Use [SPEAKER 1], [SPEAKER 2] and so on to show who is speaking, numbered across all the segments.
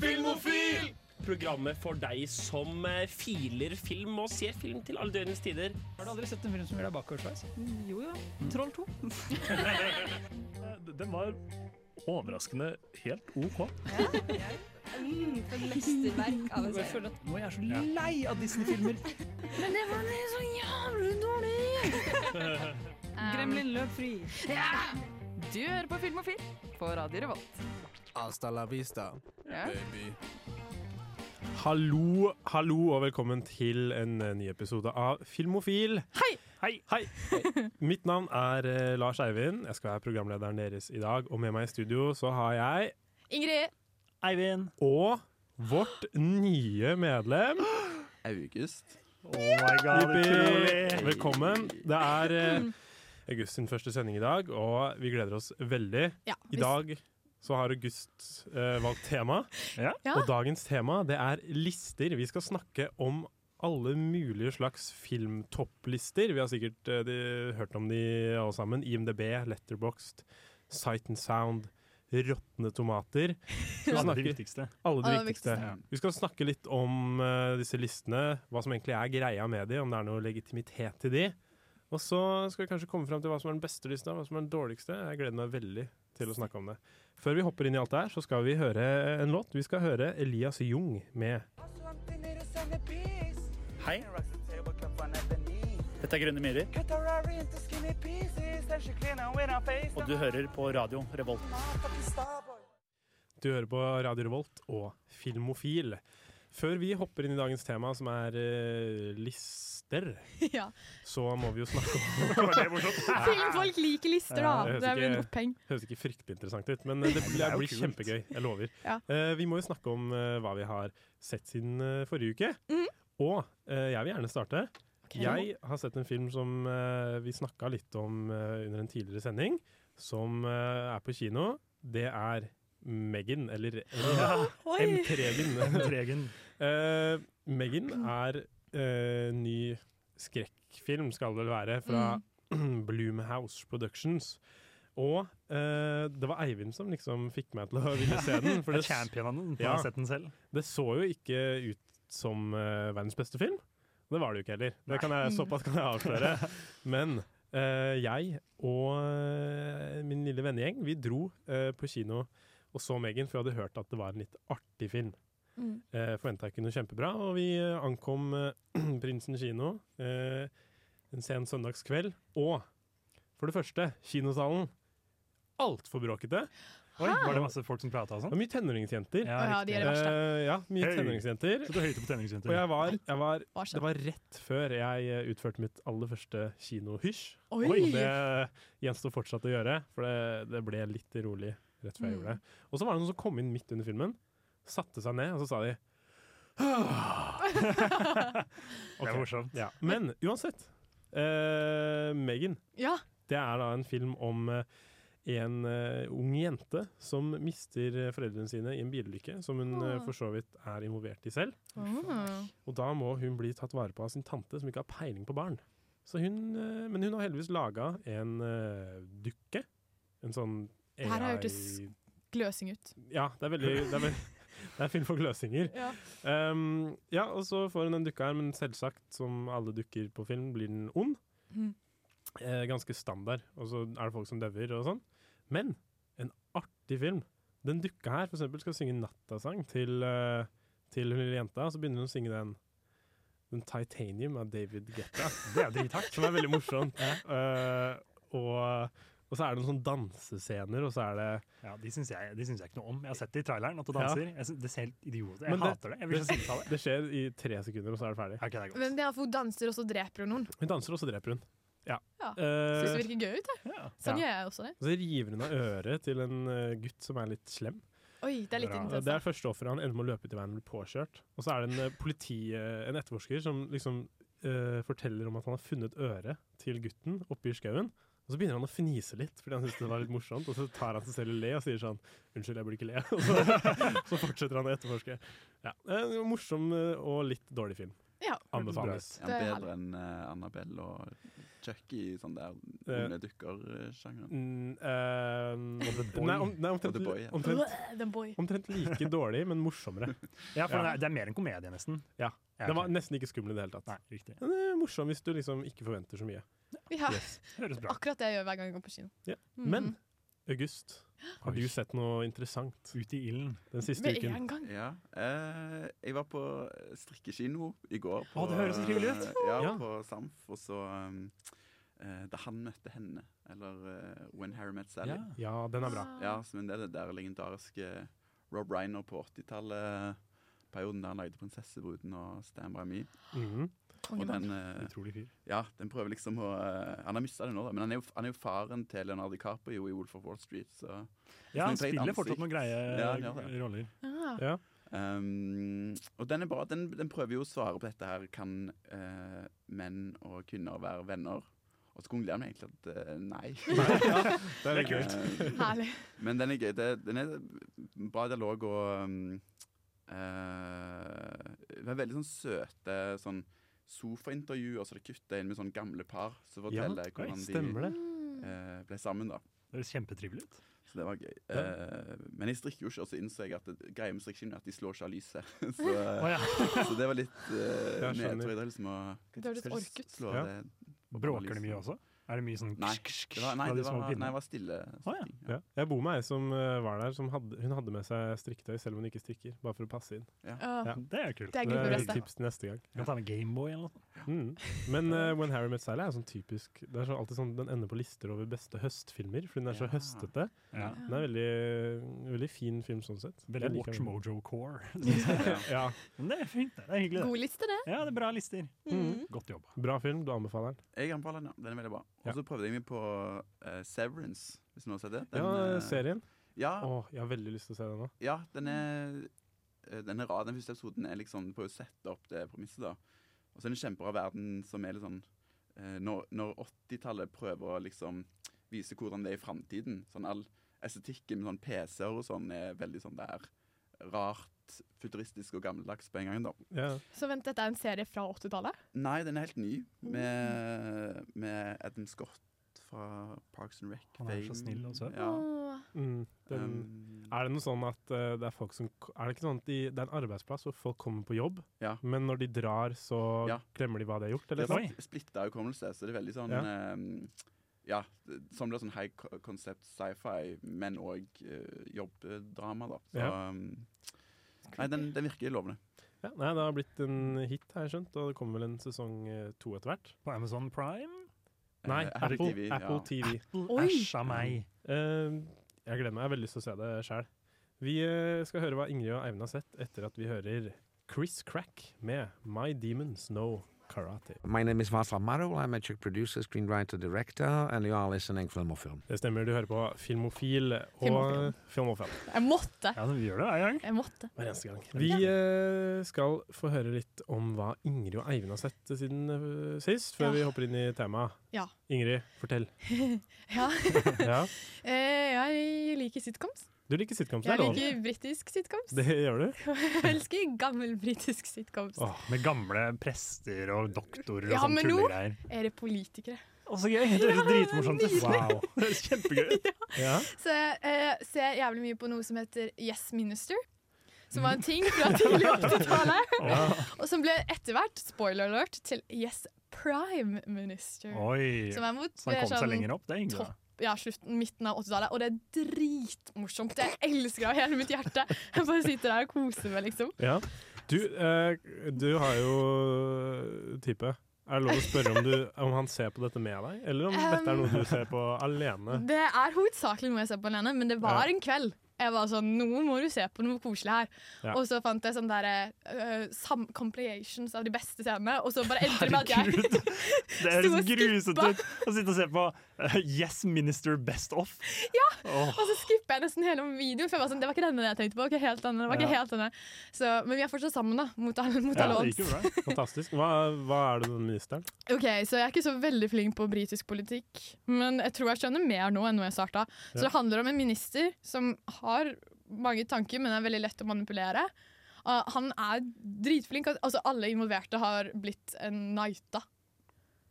[SPEAKER 1] Filmofil! Programmet for deg som eh, filer film og ser film til alle døgnets tider.
[SPEAKER 2] Har du aldri sett en film som gjør deg bakoversveis?
[SPEAKER 3] Jo, jo. Troll 2.
[SPEAKER 4] Eh, Den var overraskende helt OK.
[SPEAKER 3] Mm, for et mesterverk av en
[SPEAKER 2] Jeg
[SPEAKER 3] serie.
[SPEAKER 2] føler at nå er jeg så lei av Disney-filmer.
[SPEAKER 5] Men det var så jævlig dårlig!
[SPEAKER 3] Gremlin løp fri.
[SPEAKER 5] Du hører på Filmofil på Radio Revolt.
[SPEAKER 6] Hasta la vista,
[SPEAKER 5] Ja.
[SPEAKER 6] baby.
[SPEAKER 7] Hallo, hallo og velkommen til en eh, ny episode av Filmofil. Hei! Hei, hei. Mitt navn er eh, Lars Eivind. Jeg skal være programlederen deres i dag. Og med meg i studio så har jeg
[SPEAKER 5] Ingrid.
[SPEAKER 2] Eivind.
[SPEAKER 7] og vårt nye medlem.
[SPEAKER 6] August.
[SPEAKER 4] Oh my god,
[SPEAKER 7] Jippi!
[SPEAKER 4] utrolig!
[SPEAKER 7] Velkommen. Det er eh, August sin første sending i dag, og vi gleder oss veldig.
[SPEAKER 5] Ja,
[SPEAKER 7] I dag så har August eh, valgt tema.
[SPEAKER 4] Ja.
[SPEAKER 5] Ja.
[SPEAKER 7] Og dagens tema det er lister. Vi skal snakke om alle mulige slags filmtopplister. Vi har sikkert eh, de, hørt om de alle sammen. IMDb, Letterboxd, Sight and Sound, Råtne tomater. Skal vi
[SPEAKER 4] Alle de
[SPEAKER 7] snakke,
[SPEAKER 4] viktigste.
[SPEAKER 7] alle de
[SPEAKER 5] Alle de
[SPEAKER 7] viktigste.
[SPEAKER 4] viktigste.
[SPEAKER 7] Vi skal snakke litt om eh, disse listene, hva som egentlig er greia med de, om det er noe legitimitet til de. Og så skal vi kanskje komme fram til hva som er den beste lista, hva som er den dårligste. Jeg gleder meg veldig til å snakke om det. Før vi hopper inn i alt det her, så skal vi høre en låt. Vi skal høre Elias Jung med
[SPEAKER 2] Hei. Dette er Grønne myrer, og du hører på radio Revolt.
[SPEAKER 7] Du hører på Radio Revolt og Filmofil. Før vi hopper inn i dagens tema, som er eh, lister,
[SPEAKER 5] Ja.
[SPEAKER 7] så må vi jo snakke om
[SPEAKER 4] Var det morsomt?
[SPEAKER 5] Filmfolk liker lister, da.
[SPEAKER 7] Ja, Ah. jeg vet
[SPEAKER 5] det er
[SPEAKER 7] ikke.
[SPEAKER 5] vel et poeng.
[SPEAKER 7] Høres ikke fryktelig interessant ut, men eh, det blir,
[SPEAKER 4] det er jo
[SPEAKER 7] blir
[SPEAKER 4] kult.
[SPEAKER 7] kjempegøy. Jeg lover.
[SPEAKER 5] Ja.
[SPEAKER 7] Eh, vi må jo snakke om eh, hva vi har sett siden eh, forrige uke. Og eh, jeg vil gjerne starte. Jeg har sett en film som eh, vi snakka litt om eh, under en tidligere sending, som eh, er på kino. Det er Megan, eller
[SPEAKER 5] Oi!
[SPEAKER 7] M3-en.
[SPEAKER 4] Tregen.
[SPEAKER 7] Eh, Megan er eh, ny skrekkfilm, skal det vel være, fra
[SPEAKER 4] Mm.
[SPEAKER 7] Bloomhouse Productions. Og eh, det var Eivind som liksom fikk meg til å ville se den. For
[SPEAKER 4] Det
[SPEAKER 7] det,
[SPEAKER 4] er championen.
[SPEAKER 7] Ja.
[SPEAKER 4] Har sett den selv.
[SPEAKER 7] det så jo ikke ut som eh, verdens beste film. Det var det jo ikke heller. Det kan jeg, såpass kan jeg avsløre. Men eh, jeg og eh, min lille vennegjeng, vi dro eh, på kino og så Megan, for jeg hadde hørt at det var en litt artig film.
[SPEAKER 5] Mm.
[SPEAKER 7] Eh, Forventa ikke noe kjempebra, og vi eh, ankom eh, Prinsen kino eh, en sen søndagskveld. Og for det første, kinosalen. Altfor bråkete.
[SPEAKER 4] Oi, var det masse folk som prata og
[SPEAKER 7] Det
[SPEAKER 4] sånn?
[SPEAKER 7] var mye tenåringsjenter.
[SPEAKER 5] Å ja, de er det verste.
[SPEAKER 7] Eh, ja, mye
[SPEAKER 4] Hei.
[SPEAKER 7] tenåringsjenter.
[SPEAKER 4] Så du er høyte på tenåringsjenter.
[SPEAKER 7] Og jeg var, jeg var
[SPEAKER 5] Hva
[SPEAKER 7] Det
[SPEAKER 5] skjedde?
[SPEAKER 7] var rett før jeg eh, utførte mitt aller første kinohysj.
[SPEAKER 5] Oi!
[SPEAKER 7] Og det gjenstår fortsatt å gjøre, for det, det ble litt rolig rett før
[SPEAKER 5] Mm.
[SPEAKER 7] jeg gjorde det. Og så var det noen som kom inn midt under filmen, satte seg ned, og så sa de
[SPEAKER 4] Det
[SPEAKER 7] Ok.
[SPEAKER 4] er morsomt.
[SPEAKER 7] ja. Men uansett. eh, Megan.
[SPEAKER 5] Ja.
[SPEAKER 7] Det er da en film om eh, en eh, ung jente som mister eh, foreldrene sine i en bilulykke, som hun eh,
[SPEAKER 5] Åh.
[SPEAKER 7] for så vidt er involvert i selv.
[SPEAKER 5] Mm.
[SPEAKER 7] Og da må hun bli tatt vare på av sin tante, som ikke har peiling på barn. Så hun, eh, men hun har heldigvis laga en eh, dukke. En sånn
[SPEAKER 5] Det her har hørtes- Gløsing ut.
[SPEAKER 7] Ja, det er veldig Det er, veld- det er film for gløsinger.
[SPEAKER 5] Ja.
[SPEAKER 7] Um, ja, og så får hun den dukka her, men selvsagt, som alle dukker på film, blir den ond.
[SPEAKER 5] Mhm.
[SPEAKER 7] Eh, ganske standard, og så er det folk som dauer og sånn. Men en artig film. Den dukka her for eksempel, skal synge nattasang til, eh, til hun lille jenta, og så begynner hun å synge den. Den Titanium av David Guetta. Det er drithardt. Som er veldig morsomt. Eh, og, og så er det noen sånne dansescener, og så er det
[SPEAKER 4] Ja, de syns jeg, de syns jeg ikke noe om. Jeg har sett det i traileren, at du danser. Jeg syns, det ser helt idiot ut. Jeg
[SPEAKER 7] Men det-
[SPEAKER 4] hater det. Jeg vil ikke si det.
[SPEAKER 7] Det skjer i tre sekunder, og så er det ferdig.
[SPEAKER 4] Ok, det er godt.
[SPEAKER 5] Men det er for hun danser, og så dreper hun noen.
[SPEAKER 7] Hun danser, og så dreper hun. Ja.
[SPEAKER 5] Ja.
[SPEAKER 7] Eh,
[SPEAKER 5] Syns det virker gøy ut. jeg.
[SPEAKER 4] Ja.
[SPEAKER 5] Sånn
[SPEAKER 7] Ja.
[SPEAKER 5] gjør jeg også det.
[SPEAKER 7] og så river hun av øret til en eh, gutt som er litt slem.
[SPEAKER 5] Oi, det er litt
[SPEAKER 4] Bra.
[SPEAKER 7] Og Det
[SPEAKER 5] intenst.
[SPEAKER 7] er første offeret han ender med å løpe til veien og bli påkjørt. Og så er det en, eh, politi, eh, en etterforsker som liksom eh, forteller om at han har funnet øret til gutten oppe i skauen. Og så begynner han å fnise litt, fordi han synes det var litt morsomt. Og så tar han seg selv i le og sier sånn 'Unnskyld, jeg burde ikke le'. Og så, så fortsetter han å etterforske. Ja. En morsom eh, og litt dårlig film.
[SPEAKER 5] Ja.
[SPEAKER 7] Anbefales.
[SPEAKER 6] Ja,
[SPEAKER 5] Det er
[SPEAKER 6] bedre enn eh, Annabelle og Chucky i sånn der
[SPEAKER 7] Eh.
[SPEAKER 6] unge dukker-sjangeren.
[SPEAKER 7] Mm, eh,
[SPEAKER 4] Og The Boy.
[SPEAKER 7] Nei, om, nei
[SPEAKER 6] Og
[SPEAKER 7] omtrent,
[SPEAKER 6] The Boy, ja.
[SPEAKER 7] omtrent,
[SPEAKER 8] The boy.
[SPEAKER 7] omtrent like dårlig, men morsommere.
[SPEAKER 4] Ja, for
[SPEAKER 7] Ja.
[SPEAKER 4] den Er, Det er mer en komedie, nesten.
[SPEAKER 7] Ja.
[SPEAKER 4] Ja,
[SPEAKER 7] Den var
[SPEAKER 4] ok.
[SPEAKER 7] nesten ikke skummel i det hele tatt.
[SPEAKER 4] Nei, riktig.
[SPEAKER 7] Den er morsom hvis du liksom ikke forventer så mye.
[SPEAKER 8] Ja,
[SPEAKER 4] Høres bra.
[SPEAKER 8] akkurat det jeg gjør hver gang jeg går på kino.
[SPEAKER 7] Ja.
[SPEAKER 8] Mm.
[SPEAKER 7] Men August, har
[SPEAKER 4] Oi.
[SPEAKER 7] du sett noe interessant
[SPEAKER 4] Ut i ilden.
[SPEAKER 7] den siste
[SPEAKER 8] Med
[SPEAKER 7] uken?
[SPEAKER 8] en gang.
[SPEAKER 6] Ja. Eh, jeg var på strikkekino i går. På,
[SPEAKER 4] Å, det høres så trivelig ut.
[SPEAKER 6] eh, Ja,
[SPEAKER 7] Ja.
[SPEAKER 6] på Samf. Og så um, eh, Da han møtte henne, eller eh, When Harry Met Sally.
[SPEAKER 4] Ja.
[SPEAKER 7] Ja, den er bra.
[SPEAKER 6] Ja, som en del av det der legendariske Rob Reiner på 80-tallet. Perioden der han lagde 'Prinsessebruden' og 'Stand by Me'.
[SPEAKER 8] Ah.
[SPEAKER 7] Mhm.
[SPEAKER 6] Og
[SPEAKER 8] Kongemann.
[SPEAKER 6] den, eh,
[SPEAKER 4] Utrolig fyr.
[SPEAKER 6] ja, den prøver liksom å eh, Han har mista det nå, da, men han er, jo, han er jo faren til Leonardo DiCaprio i 'Wolf of Wall Street'. Så
[SPEAKER 4] Ja, han
[SPEAKER 6] Som et
[SPEAKER 4] spiller
[SPEAKER 6] ansikt.
[SPEAKER 4] fortsatt noen greie
[SPEAKER 6] Ja, han gjør det.
[SPEAKER 4] roller.
[SPEAKER 8] Ah.
[SPEAKER 7] Ja.
[SPEAKER 6] Um, og den er bra. Den, den prøver jo å svare på dette her Kan eh, menn og kvinner være venner? Og så konkluderer den egentlig at eh, nei.
[SPEAKER 7] Det er
[SPEAKER 4] Det er
[SPEAKER 7] kult.
[SPEAKER 6] Eh,
[SPEAKER 8] Herlig.
[SPEAKER 6] men den er gøy. Det, den er bra dialog og um, eh, Det er veldig sånn søte sånn sofaintervjuer, så det kutter inn med sånn gamle par som
[SPEAKER 7] Ja,
[SPEAKER 6] forteller hvordan de
[SPEAKER 7] stemmer det.
[SPEAKER 4] Mm.
[SPEAKER 8] Mm.
[SPEAKER 6] eh, ble sammen. da
[SPEAKER 4] Det høres kjempetrivelig ut.
[SPEAKER 6] så det var gøy. Eh, men jeg strikker jo ikke, og så innså jeg at det, greia med strikkeskinn er at de slår ikke av lyset. så,
[SPEAKER 4] Å, ja.
[SPEAKER 6] så det var litt uh,
[SPEAKER 7] Jeg skjønner.
[SPEAKER 6] nedtur. Det er liksom å
[SPEAKER 8] Det hørtes
[SPEAKER 6] skal ikke
[SPEAKER 8] ork ut.
[SPEAKER 6] slå
[SPEAKER 7] Ja.
[SPEAKER 6] det.
[SPEAKER 4] Bråker det mye også? Er det mye sånn
[SPEAKER 6] Nei, Det var, nei,
[SPEAKER 4] fra de
[SPEAKER 6] det
[SPEAKER 4] små
[SPEAKER 6] var, nei,
[SPEAKER 4] pinnene?
[SPEAKER 6] det var stille.
[SPEAKER 4] Å, ja.
[SPEAKER 6] strikking, ja.
[SPEAKER 7] Ja. Jeg bor med ei som eh, var der, som hadde, hun hadde med seg strikketøy selv om hun ikke strikker. Bare for å passe inn.
[SPEAKER 8] Ah,
[SPEAKER 7] Ja.
[SPEAKER 4] Det er kult.
[SPEAKER 8] Det er
[SPEAKER 7] Det er
[SPEAKER 8] gudbeløst,
[SPEAKER 7] et
[SPEAKER 8] det.
[SPEAKER 7] tips til neste gang.
[SPEAKER 4] Du kan ta med Gameboy eller noe.
[SPEAKER 7] Mm. Men eh, When Harry Met Sally er sånn typisk Det er så alltid sånn Den ender på lister over beste høstfilmer, fordi den er så
[SPEAKER 6] Ja.
[SPEAKER 7] høstete.
[SPEAKER 4] Ja.
[SPEAKER 7] Den er veldig, veldig fin film sånn sett.
[SPEAKER 4] Veldig
[SPEAKER 7] Jeg liker
[SPEAKER 4] Watch
[SPEAKER 7] den.
[SPEAKER 4] Mojo Core.
[SPEAKER 6] Ja.
[SPEAKER 7] Ja,
[SPEAKER 4] Men det er fint, det. Det er hyggelig,
[SPEAKER 8] God liste, det.
[SPEAKER 4] det. Ja, det er bra lister.
[SPEAKER 8] Mm.
[SPEAKER 4] Godt jobba.
[SPEAKER 7] Bra film, du anbefaler den.
[SPEAKER 6] Jeg anbefaler den, ja. Den er veldig bra.
[SPEAKER 7] Ja.
[SPEAKER 6] Og så prøvde jeg meg på eh, Severance, hvis noen har sett det. Den,
[SPEAKER 7] Ja,
[SPEAKER 6] eh,
[SPEAKER 7] serien.
[SPEAKER 6] ja,
[SPEAKER 7] Å, jeg har veldig lyst til å se den nå.
[SPEAKER 6] ja,
[SPEAKER 4] Mm.
[SPEAKER 6] den er eh, den er rar. Den første episoden er liksom, prøver å sette opp det premisset. da. Og så er det en kjempebra verden som er litt sånn eh, Når, når 80-tallet prøver å liksom vise hvordan det er i framtiden sånn All estetikken med sånn PC-er og sånn er veldig sånn der rart, futuristisk og gammeldags på en gang. da.
[SPEAKER 7] Ja.
[SPEAKER 8] Så vent, dette er en serie fra 80-tallet?
[SPEAKER 6] Nei, den er helt ny, med, med Adam Scott fra Parks and Rec.
[SPEAKER 4] Han er så
[SPEAKER 6] fame.
[SPEAKER 4] snill og søt.
[SPEAKER 6] Ja.
[SPEAKER 8] Åh.
[SPEAKER 7] Mm, den,
[SPEAKER 6] Um,
[SPEAKER 7] er det noe sånn at eh, det er folk som k- Er det ikke sånn at de, det er en arbeidsplass hvor folk kommer på jobb,
[SPEAKER 6] Ja.
[SPEAKER 7] men når de drar, så
[SPEAKER 6] Ja.
[SPEAKER 7] glemmer de hva de har gjort?
[SPEAKER 6] det
[SPEAKER 7] Eller
[SPEAKER 6] er
[SPEAKER 7] noe?
[SPEAKER 4] Oi.
[SPEAKER 6] sånn splitta hukommelse, så det er veldig sånn
[SPEAKER 7] Ja.
[SPEAKER 6] ja. ja, det- som blir sånn high co- concept sci-fi, men òg jobbdrama, da. Så
[SPEAKER 7] Ja.
[SPEAKER 6] um, Nei, den, den virker lovende.
[SPEAKER 7] Ja, nei, det har blitt en hit, har jeg skjønt, og det kommer vel en sesong eh, to etter hvert.
[SPEAKER 4] På Amazon Prime.
[SPEAKER 6] Eh,
[SPEAKER 7] Nei,
[SPEAKER 6] Apple
[SPEAKER 7] Apple
[SPEAKER 6] TV,
[SPEAKER 7] TV.
[SPEAKER 6] ja.
[SPEAKER 7] Apple TV.
[SPEAKER 8] Oi.
[SPEAKER 4] Æsj av meg.
[SPEAKER 7] Eh, jeg gleder meg. Jeg har veldig lyst til å se det sjøl. Vi eh, skal høre hva Ingrid og Eivind har sett etter at vi hører Chris Crack med My Demons Know Karate.
[SPEAKER 9] My name is Václav Marol. I'm a Czech producer, screenwriter, director, and you are listening to Filmofilm.
[SPEAKER 7] Det stemmer, du hører på Filmofil og
[SPEAKER 8] Filmofil.
[SPEAKER 7] Filmofil
[SPEAKER 8] Jeg måtte!
[SPEAKER 4] Ja, men vi gjør det hver gang.
[SPEAKER 8] Jeg måtte.
[SPEAKER 7] hver eneste gang. Vi eh, skal få høre litt om hva Ingrid og Eivind har sett siden eh, sist,
[SPEAKER 8] Ja.
[SPEAKER 7] før vi hopper inn i temaet.
[SPEAKER 8] Ja.
[SPEAKER 7] Ingrid, fortell.
[SPEAKER 8] Ja.
[SPEAKER 7] ja.
[SPEAKER 8] Eh, jeg liker sitcoms.
[SPEAKER 7] Du liker sitcoms, det
[SPEAKER 8] Jeg
[SPEAKER 7] er lov.
[SPEAKER 8] liker britisk sitcoms.
[SPEAKER 7] Det gjør du?
[SPEAKER 8] Jeg elsker gammel britisk sitcoms.
[SPEAKER 7] Åh.
[SPEAKER 4] Med gamle prester og doktorer og
[SPEAKER 8] Ja,
[SPEAKER 4] sånne
[SPEAKER 8] men nå-
[SPEAKER 4] tullegreier.
[SPEAKER 8] Er det politikere?
[SPEAKER 4] Å, så gøy! Det høres dritmorsomt ut. Wow. Det høres kjempegøy ut.
[SPEAKER 7] Ja.
[SPEAKER 8] Så jeg eh, ser jævlig mye på noe som heter Yes Minister. Som var en ting fra tidlig 80-tallet. Og som ble etter hvert, spoiler alert, til Yes Prime Minister.
[SPEAKER 4] Oi.
[SPEAKER 8] Som er mot
[SPEAKER 4] Så han kom
[SPEAKER 8] eh,
[SPEAKER 4] seg
[SPEAKER 8] sånn-
[SPEAKER 4] lenger opp, det er hyggelig. da.
[SPEAKER 8] ja, slutten, midten av 80-tallet, og det er dritmorsomt. Jeg elsker det av hele mitt hjerte. Jeg bare sitter der og koser meg, liksom.
[SPEAKER 7] Ja. Du, eh, du har jo type. Er det lov å spørre om, du, om han ser på dette med deg, eller om dette er noe du ser på alene?
[SPEAKER 8] Det er hovedsakelig noe jeg ser på alene, men det var en kveld. Jeg var sånn, Nå må du se på noe koselig her.
[SPEAKER 7] Ja.
[SPEAKER 8] Og så fant jeg sånn der, eh, sam compilations av de beste scenene, og så bare endte det med at jeg
[SPEAKER 4] Det
[SPEAKER 8] Sto
[SPEAKER 4] høres
[SPEAKER 8] og
[SPEAKER 4] grusomt
[SPEAKER 8] skippa.
[SPEAKER 4] ut å sitte og se på eh, Yes Minister Best Off. Ja!
[SPEAKER 8] Og så skipper jeg nesten hele videoen. For jeg var sånn, det var ikke denne jeg tenkte på. ok, helt denne, det var ikke
[SPEAKER 4] Ja.
[SPEAKER 8] helt denne. Så, men vi er fortsatt sammen, da. Mot alle, mot
[SPEAKER 4] Ja,
[SPEAKER 8] alle
[SPEAKER 4] det
[SPEAKER 8] odds.
[SPEAKER 4] gikk jo bra.
[SPEAKER 7] Fantastisk. Hva, hva er det med den ministeren?
[SPEAKER 8] Ok, Så jeg er ikke så veldig flink på britisk politikk, men jeg tror jeg skjønner mer nå enn når jeg starta. Så
[SPEAKER 7] Ja.
[SPEAKER 8] det handler om en minister som har mange tanker, men er veldig lett å manipulere. Uh, han er dritflink. al- Altså Alle involverte har blitt uh, knighta.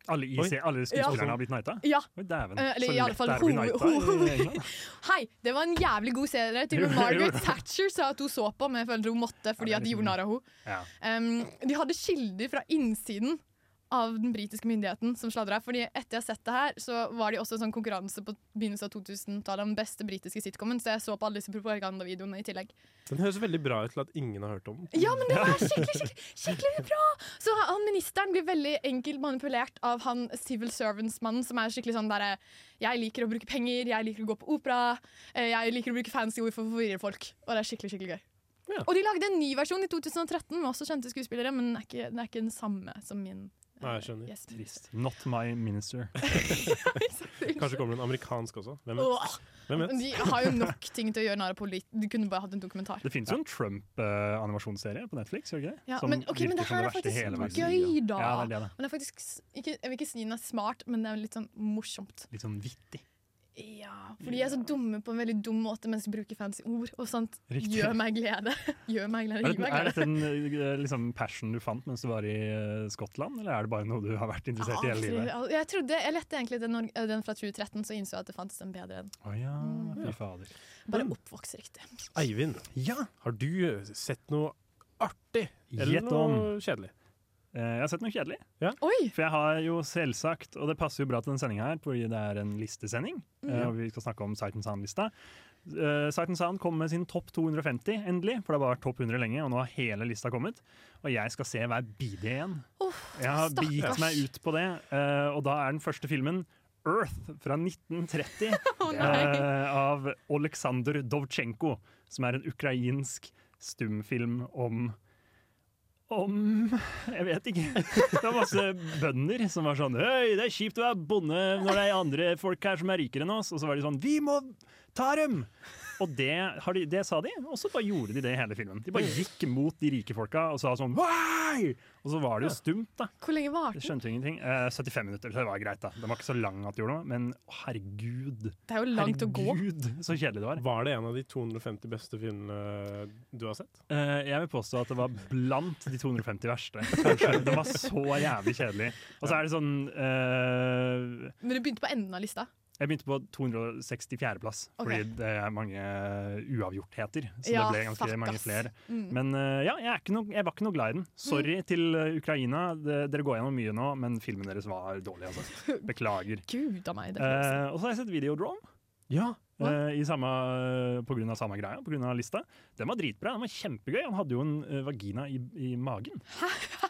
[SPEAKER 4] Alle,
[SPEAKER 7] Oi.
[SPEAKER 4] IC, alle skuespillerne
[SPEAKER 8] Ja.
[SPEAKER 4] har blitt knighta?
[SPEAKER 8] Ja.
[SPEAKER 4] Oi, dæven.
[SPEAKER 8] Eh, eller
[SPEAKER 4] Så
[SPEAKER 8] i alle
[SPEAKER 4] lett
[SPEAKER 8] fall
[SPEAKER 4] det er å bli
[SPEAKER 8] ho-
[SPEAKER 4] knighta i
[SPEAKER 8] ho-
[SPEAKER 4] England, da.
[SPEAKER 8] Hei, det var en jævlig god serie. Til og med
[SPEAKER 4] Jo, jo.
[SPEAKER 8] Margaret Thatcher sa at hun så på, men jeg følte hun måtte fordi
[SPEAKER 4] Ja, det er
[SPEAKER 8] at de
[SPEAKER 4] litt
[SPEAKER 8] gjorde narr av henne.
[SPEAKER 4] Ja.
[SPEAKER 8] Um, de hadde kilder fra innsiden av den britiske myndigheten som sladra. Fordi etter jeg har sett det her, så var det jo også en sånn konkurranse på begynnelsen av 2000-tallet om den beste britiske sitcomen, så jeg så på alle disse propagandavideoene i tillegg.
[SPEAKER 7] Den høres veldig bra ut til at ingen har hørt om den.
[SPEAKER 8] Ja, men det var skikkelig, skikkelig, skikkelig bra! Så han ministeren blir veldig enkelt manipulert av han civil servants-mannen som er skikkelig sånn derre Jeg liker å bruke penger, jeg liker å gå på opera, eh, jeg liker å bruke fancy ord for å forvirre folk. Og det er skikkelig, skikkelig gøy.
[SPEAKER 7] Ja.
[SPEAKER 8] Og de lagde en ny versjon i 2013 med også kjente skuespillere, men den er ikke, den er ikke den samme som min. eh,
[SPEAKER 7] Nei, jeg skjønner.
[SPEAKER 8] gjest.
[SPEAKER 2] Trist. Not my minister.
[SPEAKER 7] Kanskje kommer det en amerikansk også. Hvem vet?
[SPEAKER 8] Åh,
[SPEAKER 7] Hvem vet?
[SPEAKER 8] de har jo nok ting til å gjøre narr av polit... De kunne bare hatt en dokumentar.
[SPEAKER 4] Det fins jo en Trump-animasjonsserie på Netflix, gjør det ikke det?
[SPEAKER 8] Ja, men, ok, men det her er faktisk gøy, da.
[SPEAKER 4] Ja, det er det, da.
[SPEAKER 8] Men det er faktisk s- ikke, Jeg vil ikke si den er smart, men det er litt sånn morsomt.
[SPEAKER 4] Litt sånn vittig.
[SPEAKER 8] Ja, For de er så dumme på en veldig dum måte mens de bruker fancy ord. Og sånt
[SPEAKER 4] Riktig.
[SPEAKER 8] gjør meg glede. Gjør meg glede,
[SPEAKER 4] Er
[SPEAKER 8] gir
[SPEAKER 4] dette,
[SPEAKER 8] meg
[SPEAKER 4] er
[SPEAKER 8] glede.
[SPEAKER 4] dette en eh, liksom, passion du fant mens du var i eh, Skottland, eller er det bare noe du har vært interessert i hele
[SPEAKER 8] Aldri-
[SPEAKER 4] livet?
[SPEAKER 8] al- Jeg, trodde, jeg lette egentlig etter den, or- den fra 2013, så innså jeg at det fantes en bedre en.
[SPEAKER 4] Å ja,
[SPEAKER 8] Mm.
[SPEAKER 4] fy fader. Mm.
[SPEAKER 8] Bare oppvokst riktig.
[SPEAKER 7] Eivind, har du sett noe artig? Eller
[SPEAKER 4] Gjett om.
[SPEAKER 7] noe kjedelig?
[SPEAKER 4] Eh, Jeg har sett noe kjedelig.
[SPEAKER 8] Oi!
[SPEAKER 4] For jeg har jo selvsagt, og det passer jo bra til denne sendinga her, fordi det er en listesending,
[SPEAKER 8] Mm.
[SPEAKER 4] eh, og vi skal snakke om Sight and Sound-lista. Uh, Sight and Sound kom med sin topp 250 endelig, for det har vært topp 100 lenge, og nå har hele lista kommet. Og jeg skal se hver bidige en.
[SPEAKER 8] Uff,
[SPEAKER 4] Jeg har begitt
[SPEAKER 8] stakkars.
[SPEAKER 4] meg ut på det, eh, og da er den første filmen Earth fra 1930
[SPEAKER 8] Å nei.
[SPEAKER 4] eh, av Oleksandr Dovchenko, som er en ukrainsk stumfilm om om Jeg vet ikke. Det var masse bønder som var sånn Hei, det er kjipt å være bonde når det er andre folk her som er rikere enn oss. Og så var de sånn Vi må ta dem! Og det, har de, det sa de, og så bare gjorde de det i hele filmen. De bare gikk mot de rike folka og sa sånn Why? Og så var det jo stumt, da.
[SPEAKER 8] Hvor lenge varte
[SPEAKER 4] Jeg
[SPEAKER 8] den?
[SPEAKER 4] skjønte jo ingenting. Eh, 75 minutter, så det var greit, da. Den var ikke så lang at det gjorde noe, men herregud.
[SPEAKER 8] Det er jo langt å gå.
[SPEAKER 4] Herregud, så kjedelig det var.
[SPEAKER 7] Var det en av de 250 beste filmene du har sett?
[SPEAKER 4] Eh, jeg vil påstå at det var blant de 250 verste. Kanskje. Det var så jævlig kjedelig. Og så er det sånn eh,
[SPEAKER 8] Men du begynte på enden av lista.
[SPEAKER 4] Jeg begynte på 264.-plass, fordi det er mange uavgjortheter. Så
[SPEAKER 8] Ja,
[SPEAKER 4] det ble ganske
[SPEAKER 8] fuck,
[SPEAKER 4] mange
[SPEAKER 8] ass.
[SPEAKER 4] flere.
[SPEAKER 8] Mm.
[SPEAKER 4] Men eh, ja, jeg, er ikke noe- jeg var ikke noe glad i den. Sorry til eh, Ukraina. Det, dere går gjennom mye nå, men filmen deres var dårlig. Altså. Beklager.
[SPEAKER 8] Gud a meg, det føles
[SPEAKER 4] Eh, og så har jeg sett Videodrome. Ja. i samme, på grunn av samme greia, på grunn av lista. Den var dritbra, den var kjempegøy. Han hadde jo en eh, vagina i, i magen.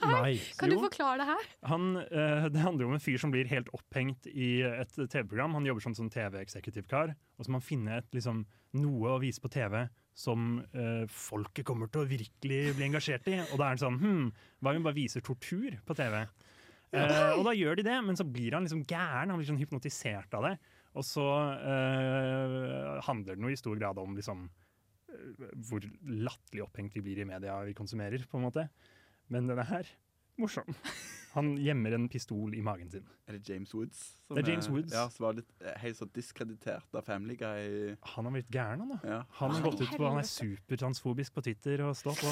[SPEAKER 4] Nei.
[SPEAKER 8] Kan du
[SPEAKER 4] Jo,
[SPEAKER 8] forklare det her?
[SPEAKER 4] han, eh, det handler jo om en fyr som blir helt opphengt i et TV-program. Han jobber som sånn TV-executive-kar, og så må han finne et, liksom, noe å vise på TV som eh, folket kommer til å virkelig bli engasjert i. Og da er han sånn Hm, hva om vi bare viser tortur på TV? Eh, og da gjør de det, men så blir han liksom gæren. Han blir sånn hypnotisert av det. Og så eh, handler den jo i stor grad om liksom eh, hvor latterlig opphengt vi blir i media vi konsumerer, på en måte. Men denne her morsom. Han gjemmer en pistol i magen sin.
[SPEAKER 6] Er det James Woods? som
[SPEAKER 4] Det er James Woods.
[SPEAKER 6] Ja, som var litt eh, helt så diskreditert av Family Guy.
[SPEAKER 4] Han har blitt gæren, han da.
[SPEAKER 6] Ja.
[SPEAKER 4] Han har
[SPEAKER 8] Nei,
[SPEAKER 4] gått ut på han er supertransfobisk på Twitter og stå på.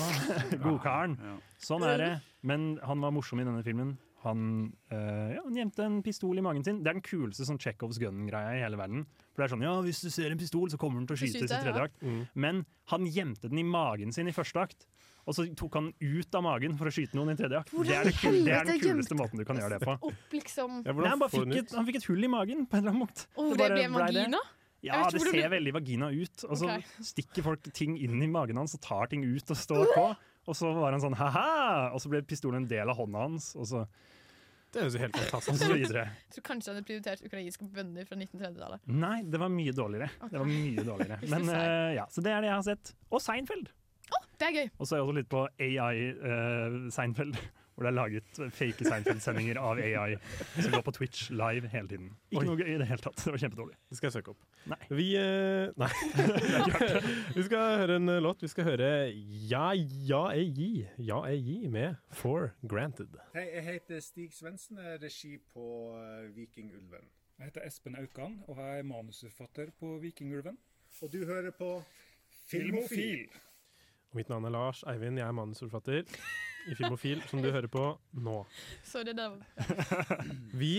[SPEAKER 4] Godkaren.
[SPEAKER 6] Ja.
[SPEAKER 4] Sånn er det. Men han var morsom i denne filmen. Han, eh, ja, han gjemte en pistol i magen sin. Det er den kuleste sånn Chekhovs gun-greia i hele verden. For det er sånn, ja, Hvis du ser en pistol, så kommer den til å
[SPEAKER 8] Så
[SPEAKER 4] skytes i
[SPEAKER 8] skyter jeg,
[SPEAKER 4] tredje
[SPEAKER 8] ja.
[SPEAKER 4] akt.
[SPEAKER 7] Mm.
[SPEAKER 4] Men han gjemte den i magen sin i første akt. Og så tok han den ut av magen for å skyte noen i tredje akt.
[SPEAKER 8] Hvordan
[SPEAKER 4] Det er, det kul, det er den
[SPEAKER 8] helvete
[SPEAKER 4] kuleste måten du kan gjøre det på.
[SPEAKER 8] Opp, liksom.
[SPEAKER 7] Ja,
[SPEAKER 4] Nei, han, bare
[SPEAKER 7] får den
[SPEAKER 4] fikk
[SPEAKER 7] ut?
[SPEAKER 4] et, han fikk et hull i magen på en eller annen måte.
[SPEAKER 8] Og
[SPEAKER 4] Det
[SPEAKER 8] Oh, det
[SPEAKER 4] bare
[SPEAKER 8] ble
[SPEAKER 4] blei det.
[SPEAKER 8] magien, da? Jeg vet
[SPEAKER 4] Ja, det
[SPEAKER 8] ikke hvor det
[SPEAKER 4] ser veldig vagina ut. Og så
[SPEAKER 8] Ok.
[SPEAKER 4] stikker folk ting inn i magen hans og tar ting ut og står på. Og så var han sånn ha-ha! Og så ble pistolen en del av hånda hans, og så,
[SPEAKER 7] Det høres jo helt
[SPEAKER 4] og
[SPEAKER 7] fantastisk
[SPEAKER 4] så
[SPEAKER 7] ut.
[SPEAKER 4] videre.
[SPEAKER 8] Jeg tror kanskje jeg hadde prioritert ukrainske bønder fra 1930-tallet.
[SPEAKER 4] Nei, det var mye dårligere. Det var mye dårligere.
[SPEAKER 8] Hvis du
[SPEAKER 4] Men
[SPEAKER 8] sier.
[SPEAKER 4] eh, ja, Så det er det jeg har sett. Og Seinfeld.
[SPEAKER 8] Det er gøy.
[SPEAKER 4] Og så er jeg også litt på AI eh, Seinfeld. Hvor det er laget fake Seinfeld-sendinger av AI som går på Twitch live hele tiden. Ikke
[SPEAKER 7] Oi.
[SPEAKER 4] noe gøy i det hele tatt. Det var kjempedårlig.
[SPEAKER 7] Det skal jeg søke opp.
[SPEAKER 4] Nei.
[SPEAKER 7] Vi, eh, nei. vi skal høre en eh, låt. Vi skal høre Ja, ja, jeg gi. Ja, jeg gi med For Granted.
[SPEAKER 10] Hei, jeg heter Stig Svendsen, jeg er regi på eh, Vikingulven.
[SPEAKER 11] Jeg heter Espen Aukan, og jeg er manusforfatter på Vikingulven.
[SPEAKER 10] Og du hører på
[SPEAKER 11] Filmofil!
[SPEAKER 7] Og mitt navn er Lars Eivind, jeg er manusforfatter. i Filmofil som du hører på nå.
[SPEAKER 8] Sorry, det var
[SPEAKER 7] Vi,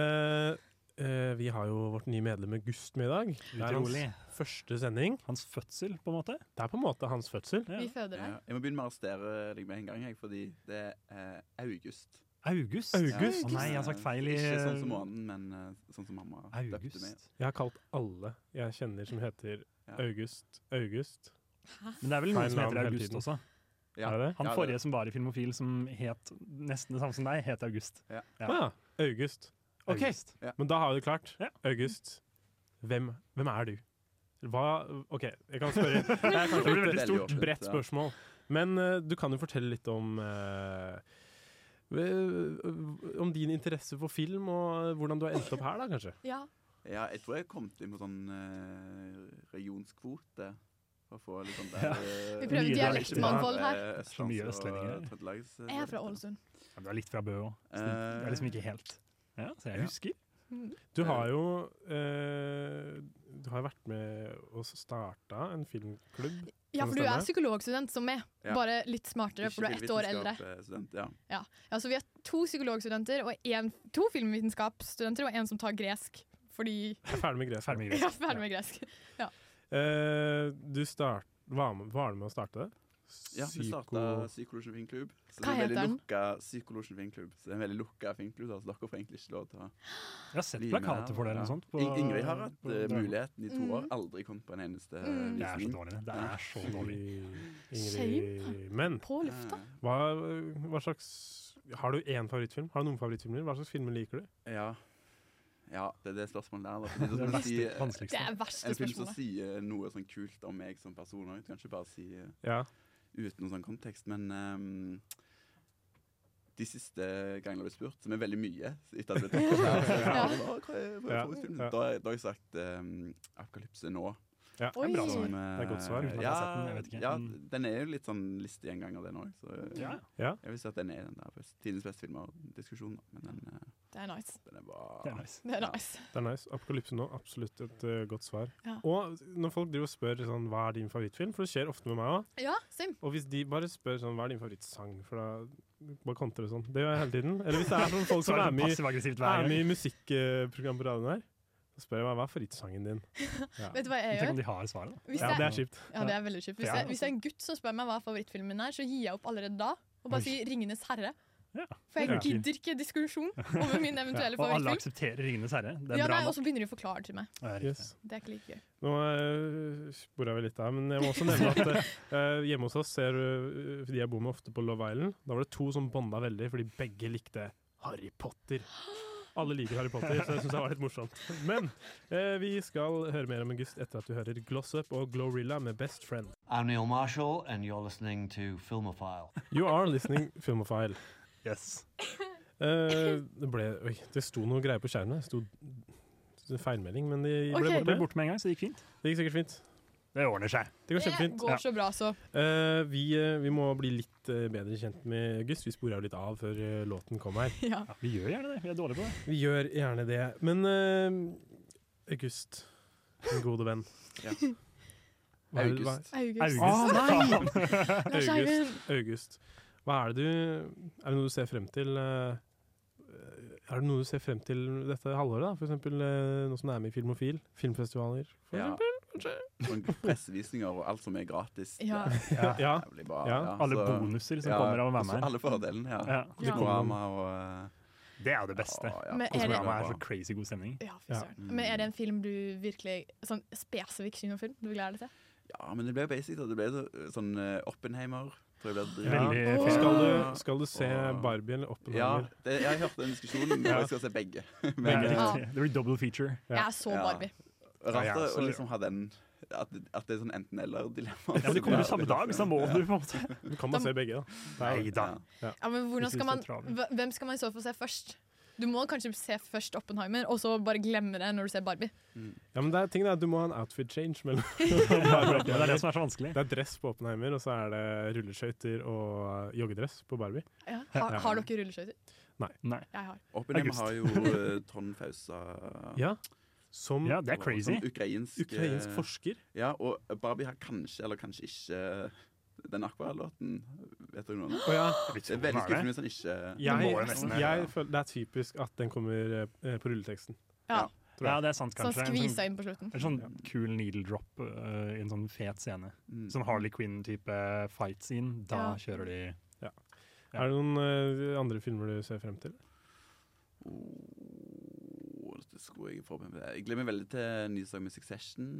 [SPEAKER 7] eh, eh, vi har jo vårt nye medlem August med i dag. Det er hans
[SPEAKER 4] Utrolig.
[SPEAKER 7] første sending.
[SPEAKER 4] Hans fødsel, på en måte.
[SPEAKER 7] Det er på en måte hans fødsel.
[SPEAKER 8] Vi føder
[SPEAKER 6] Ja,
[SPEAKER 8] deg.
[SPEAKER 6] jeg må begynne med å arrestere deg med en gang, jeg, fordi det er eh, august.
[SPEAKER 4] August?
[SPEAKER 7] August?
[SPEAKER 4] Å nei, jeg har sagt feil i
[SPEAKER 6] Ikke sånn som månen, men eh, sånn som mamma døpte meg.
[SPEAKER 4] August.
[SPEAKER 7] Jeg har kalt alle jeg kjenner som heter
[SPEAKER 6] Ja.
[SPEAKER 7] August, August.
[SPEAKER 4] Men det er vel noen
[SPEAKER 7] Feil
[SPEAKER 4] som
[SPEAKER 7] navn
[SPEAKER 4] heter
[SPEAKER 7] hele
[SPEAKER 4] August
[SPEAKER 7] tiden.
[SPEAKER 4] også.
[SPEAKER 6] Ja.
[SPEAKER 7] Er det det?
[SPEAKER 6] Ja,
[SPEAKER 4] Han
[SPEAKER 6] det-
[SPEAKER 4] forrige som var i Filmofil, som het nesten det samme som deg, het August.
[SPEAKER 7] Å
[SPEAKER 4] Ja.
[SPEAKER 7] ja. August. Ok,
[SPEAKER 4] August.
[SPEAKER 7] men da har vi det klart.
[SPEAKER 4] Ja.
[SPEAKER 7] August, hvem, hvem er du? Hva OK, jeg kan spørre. Det er kanskje et
[SPEAKER 6] blir veldig
[SPEAKER 7] veldig stort,
[SPEAKER 6] åpent,
[SPEAKER 7] bredt
[SPEAKER 6] ja.
[SPEAKER 7] spørsmål. Men eh, du kan jo fortelle litt om eh, ve- Om din interesse for film, og eh, hvordan du har endt opp her, da, kanskje?
[SPEAKER 8] Ja.
[SPEAKER 6] Ja, jeg tror jeg kom til med sånn eh, regionskvote. For å få litt sånn der eh,
[SPEAKER 8] Vi prøver
[SPEAKER 4] Mye
[SPEAKER 8] dialektmangfold her.
[SPEAKER 6] eh,
[SPEAKER 4] Så mye
[SPEAKER 6] Østlands- og
[SPEAKER 4] østlendinger her.
[SPEAKER 6] Trøndelags, eh,
[SPEAKER 8] Jeg er fra Ålesund.
[SPEAKER 4] Ja, Du er litt fra Bø òg.
[SPEAKER 6] Eh,
[SPEAKER 4] Det er liksom ikke helt Ja, så jeg
[SPEAKER 6] ja.
[SPEAKER 4] husker.
[SPEAKER 7] Du har jo eh, Du har jo vært med og starta en filmklubb.
[SPEAKER 8] Ja,
[SPEAKER 7] Kan det
[SPEAKER 8] for du er
[SPEAKER 7] stemme?
[SPEAKER 8] psykologstudent som meg,
[SPEAKER 6] Ja.
[SPEAKER 8] bare litt smartere, for du er ett år eldre.
[SPEAKER 6] Ikke vitenskap, eh, Student, ja.
[SPEAKER 8] Ja, så vi er to psykologstudenter og en, to filmvitenskapsstudenter og en som tar gresk. Fordi
[SPEAKER 7] Jeg er ferdig med gresk.
[SPEAKER 4] Ferdig med
[SPEAKER 8] jeg er
[SPEAKER 4] Gresk.
[SPEAKER 8] ferdig med gresk.
[SPEAKER 7] Eh, du start, var, med, var du med å starte det?
[SPEAKER 6] ja, vi starta
[SPEAKER 7] Psyko-
[SPEAKER 6] Psykologien filmklubb. Så
[SPEAKER 8] Hva
[SPEAKER 6] det er en
[SPEAKER 8] heter
[SPEAKER 6] veldig
[SPEAKER 8] den?
[SPEAKER 6] lukka Psykologien filmklubb. Så det er en veldig lukka filmklubb, da, så dere får egentlig ikke lov til å
[SPEAKER 4] Jeg har sett
[SPEAKER 6] bli med her.
[SPEAKER 4] plakater for det eller
[SPEAKER 6] Ja.
[SPEAKER 4] noe sånt. på-
[SPEAKER 6] In- Ingrid har hatt
[SPEAKER 4] på-
[SPEAKER 6] eh, muligheten i to år,
[SPEAKER 8] Mm.
[SPEAKER 6] aldri kommet på en eneste eh,
[SPEAKER 8] Mm.
[SPEAKER 6] visning.
[SPEAKER 4] Det er så dårlig, det. Det er så dårlig.
[SPEAKER 7] Ingrid Men
[SPEAKER 8] På
[SPEAKER 6] Ah,
[SPEAKER 8] lufta.
[SPEAKER 7] hva, hva slags Har du én favorittfilm? Har du noen favorittfilmer? Hva slags filmer liker du?
[SPEAKER 6] Eh, Ja. ja, det er det spørsmålet der. Da.
[SPEAKER 4] Det er
[SPEAKER 6] Fordi du
[SPEAKER 4] det
[SPEAKER 6] kan si,
[SPEAKER 4] verste-
[SPEAKER 6] eh,
[SPEAKER 8] Det
[SPEAKER 4] vanskeligste.
[SPEAKER 8] er verste
[SPEAKER 6] en film som
[SPEAKER 8] spørsmålet.
[SPEAKER 6] sier noe sånn kult om meg som person òg. Du kan ikke bare si eh,
[SPEAKER 7] Ja.
[SPEAKER 6] uten noen sånn kontekst, men ehm, de siste gangene jeg har blitt spurt, som er veldig mye etter at jeg ble tatt opp her, så er det sånn, «Å, hva er- hva er
[SPEAKER 7] Ja.
[SPEAKER 6] favorittfilmen?»
[SPEAKER 7] Ja.
[SPEAKER 6] Da har jeg- da har jeg sagt ehm, 'Apokalypse nå'.
[SPEAKER 7] ja.
[SPEAKER 8] Oi.
[SPEAKER 4] bra svar.
[SPEAKER 6] Som,
[SPEAKER 7] Det er godt svar,
[SPEAKER 6] eh,
[SPEAKER 4] uten at jeg
[SPEAKER 6] Ja,
[SPEAKER 4] har sett den, jeg vet ikke.
[SPEAKER 6] ja,
[SPEAKER 4] Mm.
[SPEAKER 6] den er jo litt sånn listegjenganger, den òg. Så eh,
[SPEAKER 4] Ja.
[SPEAKER 6] jeg vil si at den er den der best- tidens beste filmer-diskusjonen. Men den, eh,
[SPEAKER 8] Det er nice.
[SPEAKER 6] den er bare
[SPEAKER 4] Det er nice.
[SPEAKER 8] Det er
[SPEAKER 6] Ja.
[SPEAKER 8] nice.
[SPEAKER 7] Det er nice. Apokalypse nå, absolutt et eh, godt svar.
[SPEAKER 8] Ja.
[SPEAKER 7] Og når folk driver og spør sånn, hva er din favorittfilm, for det skjer ofte med meg òg,
[SPEAKER 8] Ja, same.
[SPEAKER 7] og hvis de bare spør sånn, hva er din favorittsang, for da bare kontrer det sånn. Det gjør jeg hele tiden. Eller hvis det er sånn folk
[SPEAKER 4] Så
[SPEAKER 7] som
[SPEAKER 4] er
[SPEAKER 7] er
[SPEAKER 4] det
[SPEAKER 7] med i
[SPEAKER 4] passiv-aggressivt hver
[SPEAKER 7] er
[SPEAKER 4] gang.
[SPEAKER 7] med i musikkprogram på radioen her, så spør jeg meg hva er favorittsangen din. Ja.
[SPEAKER 8] Vet du hva jeg
[SPEAKER 4] Tenk om
[SPEAKER 8] gjør?
[SPEAKER 4] de har svaret.
[SPEAKER 8] Hvis
[SPEAKER 7] Ja,
[SPEAKER 8] det, er,
[SPEAKER 7] det er kjipt.
[SPEAKER 8] ja, det er veldig kjipt. Hvis,
[SPEAKER 4] Ja.
[SPEAKER 8] det, hvis det er en gutt som spør meg hva favorittfilmen min er, så gir jeg opp allerede da. Og bare
[SPEAKER 4] Oi.
[SPEAKER 8] sier 'Ringenes herre'.
[SPEAKER 4] Ja.
[SPEAKER 8] For jeg
[SPEAKER 7] Ja.
[SPEAKER 8] gidder ikke diskusjon over min
[SPEAKER 4] Ja.
[SPEAKER 8] eventuelle
[SPEAKER 4] Og alle
[SPEAKER 8] favorittfilm.
[SPEAKER 4] aksepterer Ringenes herre. Det er
[SPEAKER 8] Ja, nei,
[SPEAKER 4] bra
[SPEAKER 8] altså- Og
[SPEAKER 4] nok.
[SPEAKER 8] så begynner de å forklare til meg.
[SPEAKER 4] Ja, det er riktig.
[SPEAKER 7] Yes.
[SPEAKER 8] Det er ikke like gøy.
[SPEAKER 7] Nå uh, spora vi litt der, men jeg må også nevne at eh, hjemme hos oss ser eh, de jeg bor med ofte på Love Island. Da var det to som bonda veldig, fordi begge likte Harry Potter. Alle liker Harry Potter, så jeg syns det var litt morsomt. Men eh, vi skal høre mer om August etter at du hører Gloss Up og Glorilla med Best Friend.
[SPEAKER 12] I'm Neil Marshall, and you're listening to Filmophile.
[SPEAKER 7] You are listening Filmophile.
[SPEAKER 4] Yes.
[SPEAKER 7] Eh, det ble Oi, det sto noe greier på skjermen. Det sto det sto feilmelding, men det ble
[SPEAKER 8] Ok.
[SPEAKER 4] Det ble
[SPEAKER 7] borte.
[SPEAKER 4] borte med en gang, så det gikk fint.
[SPEAKER 7] Det gikk sikkert fint.
[SPEAKER 4] Det ordner seg.
[SPEAKER 7] Det går
[SPEAKER 8] Det
[SPEAKER 7] kjempefint.
[SPEAKER 8] går så bra, så.
[SPEAKER 7] Eh, vi, eh, vi må bli litt eh, bedre kjent med August. Vi sporer jo litt av før eh, låten kom her.
[SPEAKER 8] Ja.
[SPEAKER 4] Ja, vi gjør gjerne det. Vi er dårlige på det.
[SPEAKER 7] Vi gjør gjerne det. Men eh, August, min gode venn.
[SPEAKER 6] Ja.
[SPEAKER 7] Hva er det- hva-
[SPEAKER 6] August.
[SPEAKER 8] August.
[SPEAKER 4] August. nei!
[SPEAKER 8] Lars Eivind.
[SPEAKER 7] August. Hva er det du Er det noe du ser frem til eh, Er det noe du ser frem til dette halvåret, da? For eksempel eh, nå som det er med i Filmofil? Filmfestivaler, for
[SPEAKER 6] Ja.
[SPEAKER 7] eksempel?
[SPEAKER 6] Sånn pressevisninger og alt som er gratis.
[SPEAKER 8] Ja.
[SPEAKER 6] Det
[SPEAKER 7] Ja. ja.
[SPEAKER 6] er jævlig bra,
[SPEAKER 7] Ja,
[SPEAKER 4] Alle
[SPEAKER 6] så-
[SPEAKER 4] bonuser som
[SPEAKER 6] Altså, Ja,
[SPEAKER 4] kommer av å være
[SPEAKER 6] også
[SPEAKER 4] med her.
[SPEAKER 6] Alle fordelene, ja.
[SPEAKER 4] Ja,
[SPEAKER 8] Ja.
[SPEAKER 6] Diorama og eh,
[SPEAKER 4] det er jo det beste.
[SPEAKER 6] ja,
[SPEAKER 8] Men er det-
[SPEAKER 4] Kosmorama er så crazy god stemning.
[SPEAKER 8] Ja, fy
[SPEAKER 7] Ja.
[SPEAKER 8] søren. Men er det en film du virkelig Sånn spesifikk kinofilm du gleder deg til?
[SPEAKER 6] Ja, men det ble basic. Da. Det ble så, sånn eh, Oppenheimer. Tror jeg ble
[SPEAKER 7] Ja.
[SPEAKER 4] Veldig
[SPEAKER 8] Åh.
[SPEAKER 4] fet.
[SPEAKER 7] Skal, du, skal du se
[SPEAKER 6] Og-
[SPEAKER 7] Barbie eller
[SPEAKER 6] Ja,
[SPEAKER 7] Oppenheimer?
[SPEAKER 6] det, jeg hørte den diskusjonen, og
[SPEAKER 7] Ja.
[SPEAKER 6] jeg skal se begge.
[SPEAKER 4] Det
[SPEAKER 6] Men
[SPEAKER 4] er
[SPEAKER 6] eh,
[SPEAKER 8] Ja.
[SPEAKER 4] riktig. Det blir double feature.
[SPEAKER 7] Ja.
[SPEAKER 8] Jeg er så
[SPEAKER 6] Ja.
[SPEAKER 8] Barbie.
[SPEAKER 6] rart
[SPEAKER 4] Ja, ja,
[SPEAKER 6] å
[SPEAKER 4] så-
[SPEAKER 6] liksom ha den At, at det er sånn enten-eller-dilemma.
[SPEAKER 4] Ja, men det kommer jo samme dag, så da må du på en måte.
[SPEAKER 7] Du kan
[SPEAKER 8] Da-
[SPEAKER 7] bare se begge, da.
[SPEAKER 4] Nei da.
[SPEAKER 8] Ja, men hvordan
[SPEAKER 4] Jeg synes
[SPEAKER 8] skal man,
[SPEAKER 4] det er travelt.
[SPEAKER 8] hve- hvem skal man i så fall se først? Du må kanskje se først Oppenheimer, og så bare glemme det når du ser Barbie.
[SPEAKER 7] Ja, men det er, tingen er at Du må ha en outfit change. Mellom.
[SPEAKER 4] Men Det er det som er så vanskelig.
[SPEAKER 7] Det er dress på Oppenheimer, og så er det rulleskøyter og eh, joggedress på Barbie.
[SPEAKER 8] Ja. Har, har dere rulleskøyter?
[SPEAKER 4] Nei.
[SPEAKER 8] Jeg har.
[SPEAKER 6] Oppenheimer
[SPEAKER 4] August.
[SPEAKER 6] har jo uh, Trond Fausa
[SPEAKER 7] Ja, Som
[SPEAKER 4] Ja, det er crazy.
[SPEAKER 6] Sånn ukrainsk, eh,
[SPEAKER 7] ukrainsk forsker.
[SPEAKER 6] Ja, og Barbie har kanskje, eller kanskje ikke den Aqua-låten. Vet dere noe om den?
[SPEAKER 7] Å ja.
[SPEAKER 6] Det
[SPEAKER 7] Sånn
[SPEAKER 6] er veldig skuffende hvis han ikke
[SPEAKER 7] jeg, jeg føler Det er typisk at den kommer eh, på rulleteksten.
[SPEAKER 8] Ja.
[SPEAKER 7] Tror jeg.
[SPEAKER 2] Ja, det er sant,
[SPEAKER 8] Sånn
[SPEAKER 2] kanskje. En
[SPEAKER 8] skvisa inn på slutten.
[SPEAKER 2] En sånn cool needle drop eh, i en sånn fet scene.
[SPEAKER 6] Mm.
[SPEAKER 2] Sånn Harley Quinn-type fight scene. Da
[SPEAKER 8] Ja.
[SPEAKER 2] kjører de
[SPEAKER 7] Ja. Er det noen eh, andre filmer du ser frem til?
[SPEAKER 6] Åh, dette Oh, skulle jeg forberedt meg Jeg gleder meg veldig til ny sang med Succession.